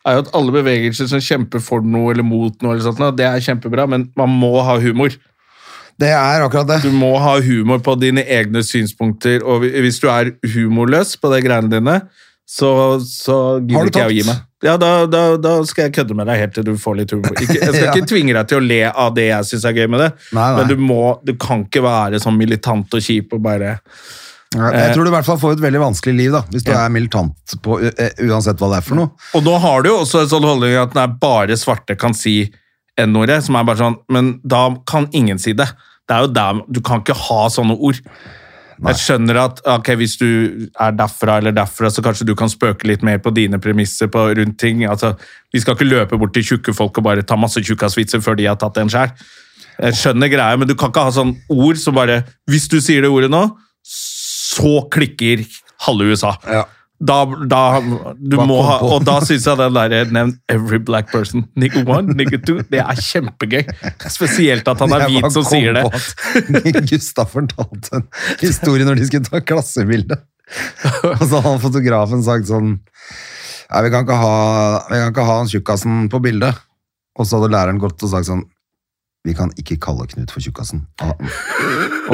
[SPEAKER 2] Er jo at alle bevegelser som kjemper for noe eller mot noe, eller sånt, nå, det er kjempebra, men man må ha humor.
[SPEAKER 1] Det er akkurat det.
[SPEAKER 2] Du må ha humor på dine egne synspunkter, og hvi- hvis du er humorløs på de greiene dine, så, så
[SPEAKER 1] Har du
[SPEAKER 2] gidder ikke jeg å
[SPEAKER 1] tapt?
[SPEAKER 2] gi meg. Ja, da, da, da skal jeg kødde med deg helt til du får litt humor. Ikke, jeg skal
[SPEAKER 1] Ja.
[SPEAKER 2] ikke tvinge deg til å le av det jeg syns er gøy med det,
[SPEAKER 1] Nei, nei.
[SPEAKER 2] men du, må, du kan ikke være sånn militant og kjip og bare Eh.
[SPEAKER 1] Jeg tror du i hvert fall får et veldig vanskelig liv da, hvis du er militant på u- eh, uansett hva det er for noe.
[SPEAKER 2] Og nå har du jo også en sånn holdning at nei, bare svarte kan si N-ordet, som er bare sånn Men da kan ingen si det. Det er jo der Du kan ikke ha sånne ord. Jeg skjønner at ok, hvis du er derfra eller derfra, så kanskje du kan spøke litt mer på dine premisser på, rundt ting. Altså, Vi skal ikke løpe bort til tjukke folk og bare ta masse tjukkasvitser før de har tatt en sjæl. Jeg skjønner greia, men du kan ikke ha sånn ord som bare Hvis du sier det ordet nå, så klikker halve USA.
[SPEAKER 1] Ja.
[SPEAKER 2] Da, da, du
[SPEAKER 1] Bare
[SPEAKER 2] må
[SPEAKER 1] kom
[SPEAKER 2] ha,
[SPEAKER 1] på.
[SPEAKER 2] og da syns jeg den der nevn every black person. Nigga one, nigga two. Det er kjempegøy. Spesielt at han er
[SPEAKER 1] Jeg bare
[SPEAKER 2] hvit som
[SPEAKER 1] kom
[SPEAKER 2] sier det.
[SPEAKER 1] på at Gustav fortalte en Altså, historie når de skulle ta klassebilde. Og så hadde han fotografen sagt sånn Nei, vi kan ikke ha, vi kan ikke ha han tjukkasen på bildet. Og så hadde læreren gått og sagt sånn Vi kan ikke kalle Knut for tjukkasen. Og-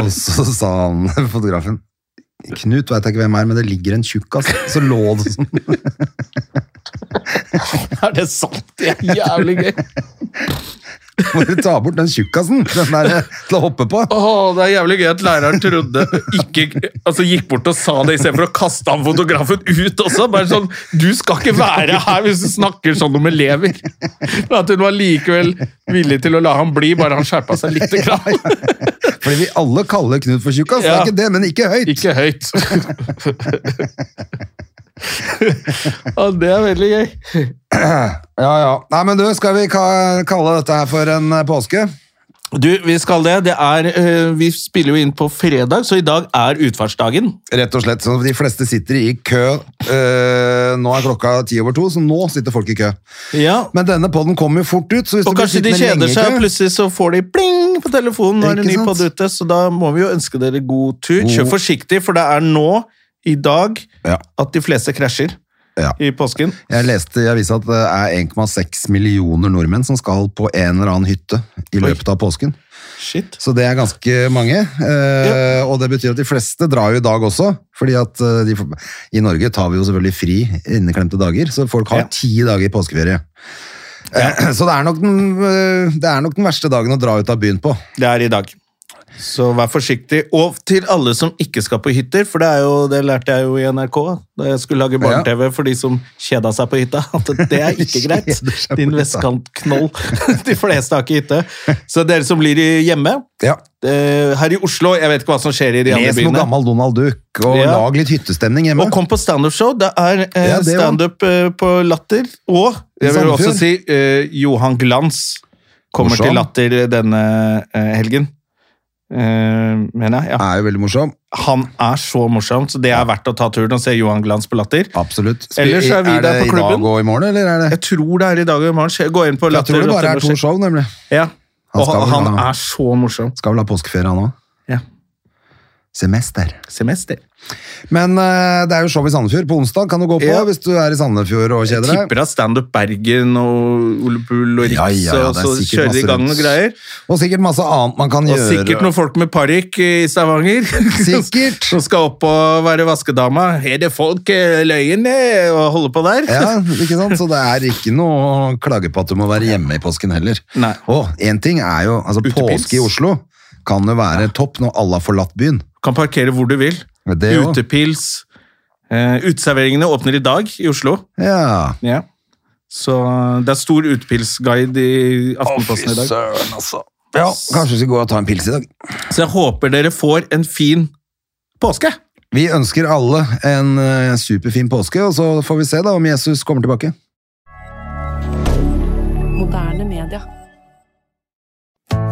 [SPEAKER 1] Og så sa han fotografen Knut veit jeg ikke hvem er, men det ligger en tjukkas. Så lå det sånn.
[SPEAKER 2] Er det sant? Det er jævlig gøy.
[SPEAKER 1] Må du ta bort den tjukkasen? Den der eh, til å hoppe på.
[SPEAKER 2] Åh, det er jævlig gøy at læreren trodde ikke, altså gikk bort og sa det istedenfor å kaste han fotografen ut også. Bare sånn, Du skal ikke være her hvis du snakker sånn om elever! Men at hun var likevel villig til å la han bli, bare han skjerpa seg litt. Grann.
[SPEAKER 1] Fordi vi alle kaller Knut for tjukkas. Det
[SPEAKER 2] Ja.
[SPEAKER 1] er ikke det, men ikke høyt.
[SPEAKER 2] Ikke høyt. Ja, det er veldig gøy.
[SPEAKER 1] Ja, ja. Nei, men du, skal vi ka kalle dette her for en eh, påske?
[SPEAKER 2] Du, vi skal det. det er, eh, vi spiller jo inn på fredag, så i dag er utfartsdagen.
[SPEAKER 1] Rett og slett. Så de fleste sitter i kø. Eh, nå er klokka ti over to, så nå sitter folk i kø.
[SPEAKER 2] Ja,
[SPEAKER 1] Men denne podden kommer jo fort ut, så hvis
[SPEAKER 2] Og
[SPEAKER 1] du blir
[SPEAKER 2] kanskje de
[SPEAKER 1] sittende
[SPEAKER 2] kjeder
[SPEAKER 1] lenge i
[SPEAKER 2] seg, og
[SPEAKER 1] kø
[SPEAKER 2] plutselig så får de pling på telefonen. Nå er det en
[SPEAKER 1] Ikke
[SPEAKER 2] ny
[SPEAKER 1] sant?
[SPEAKER 2] podd ute, så da må vi jo ønske dere god tur. Kjør
[SPEAKER 1] God-
[SPEAKER 2] forsiktig, for det er nå, i dag,
[SPEAKER 1] Ja.
[SPEAKER 2] at de fleste krasjer
[SPEAKER 1] Ja.
[SPEAKER 2] i påsken.
[SPEAKER 1] Jeg leste i avisa at det er 1,6 millioner nordmenn som skal på en eller annen hytte i løpet av påsken.
[SPEAKER 2] Shit.
[SPEAKER 1] Så det er ganske mange. eh, Og det betyr at de fleste drar jo i dag også. fordi at eh, de, får- I Norge tar vi jo selvfølgelig fri inneklemte dager, så folk har
[SPEAKER 2] Ja.
[SPEAKER 1] ti dager påskeferie. Eh, Så det er, nok den, eh, det er nok den verste dagen å dra ut av byen på.
[SPEAKER 2] Det er i dag. Så vær forsiktig. Og til alle som ikke skal på hytter, for det, er jo, det lærte jeg jo i NRK da jeg skulle lage barne-TV for de som kjeda seg på hytta, at det er ikke greit.
[SPEAKER 1] Kjeder seg på
[SPEAKER 2] Din
[SPEAKER 1] hytta.
[SPEAKER 2] vestkantknoll. De fleste har ikke hytte. Så dere som blir i- hjemme,
[SPEAKER 1] Ja.
[SPEAKER 2] eh, her i Oslo Jeg vet ikke hva som skjer i de andre
[SPEAKER 1] Les noe
[SPEAKER 2] byene.
[SPEAKER 1] gammel Donald Duck, og
[SPEAKER 2] Ja.
[SPEAKER 1] lag litt hyttestemning hjemme.
[SPEAKER 2] Og kom på standup-show. Det er eh,
[SPEAKER 1] Ja, det også.
[SPEAKER 2] standup eh, på Latter. Og jeg vil
[SPEAKER 1] Sandefjord.
[SPEAKER 2] også si eh, Johan Glans kommer
[SPEAKER 1] Morsom.
[SPEAKER 2] til Latter denne eh, helgen. Eh, mener jeg. Ja.
[SPEAKER 1] er jo veldig morsom.
[SPEAKER 2] Han er så morsom, så det er verdt å ta turen og se Johan Glans på Latter.
[SPEAKER 1] Absolutt.
[SPEAKER 2] Ellers er vi der
[SPEAKER 1] det
[SPEAKER 2] på
[SPEAKER 1] i
[SPEAKER 2] klubben.
[SPEAKER 1] dag og i morgen, eller er det
[SPEAKER 2] Jeg tror det er i dag og i morgen. Skje- Gå inn på
[SPEAKER 1] Jeg
[SPEAKER 2] Latter.
[SPEAKER 1] tror det bare
[SPEAKER 2] Latter-
[SPEAKER 1] er to show, nemlig.
[SPEAKER 2] Ja.
[SPEAKER 1] Han
[SPEAKER 2] Og
[SPEAKER 1] skal vel
[SPEAKER 2] han
[SPEAKER 1] ha-
[SPEAKER 2] er så morsom.
[SPEAKER 1] Skal vel ha påskeferie, han òg.
[SPEAKER 2] Ja.
[SPEAKER 1] Semester.
[SPEAKER 2] Semester.
[SPEAKER 1] Men eh, det er jo show i Sandefjord på onsdag. Kan du gå på
[SPEAKER 2] Ja.
[SPEAKER 1] hvis du er i Sandefjord og kjeder deg?
[SPEAKER 2] Tipper av Standup Bergen og Ole Bull og Riks,
[SPEAKER 1] Ja, ja, ja,
[SPEAKER 2] og
[SPEAKER 1] det er
[SPEAKER 2] så
[SPEAKER 1] sikkert
[SPEAKER 2] kjører de i
[SPEAKER 1] masse
[SPEAKER 2] gang
[SPEAKER 1] rundt.
[SPEAKER 2] og greier.
[SPEAKER 1] Og sikkert masse annet man kan
[SPEAKER 2] Og
[SPEAKER 1] gjøre.
[SPEAKER 2] sikkert noen folk med parykk i Stavanger.
[SPEAKER 1] Sikkert.
[SPEAKER 2] Som skal opp og være vaskedama. Er det folk eh, løyen eh, og holde på der?
[SPEAKER 1] Ja, ikke sant? Så det er ikke noe å klage på at du må være hjemme i påsken heller.
[SPEAKER 2] Nei.
[SPEAKER 1] Og én ting er jo altså,
[SPEAKER 2] Utepils.
[SPEAKER 1] Påske i Oslo kan jo være topp når alle har forlatt byen.
[SPEAKER 2] Kan parkere hvor du vil.
[SPEAKER 1] Det òg.
[SPEAKER 2] Utepils. Eh, uteserveringene åpner i dag i Oslo.
[SPEAKER 1] Ja.
[SPEAKER 2] Ja. Så det er stor utepilsguide i Aftenposten i dag.
[SPEAKER 1] ja, kanskje vi skal gå og ta en pils i dag.
[SPEAKER 2] Så jeg håper dere får en fin påske.
[SPEAKER 1] Vi ønsker alle en eh, superfin påske, og så får vi se da om Jesus kommer tilbake.
[SPEAKER 4] Moderne media.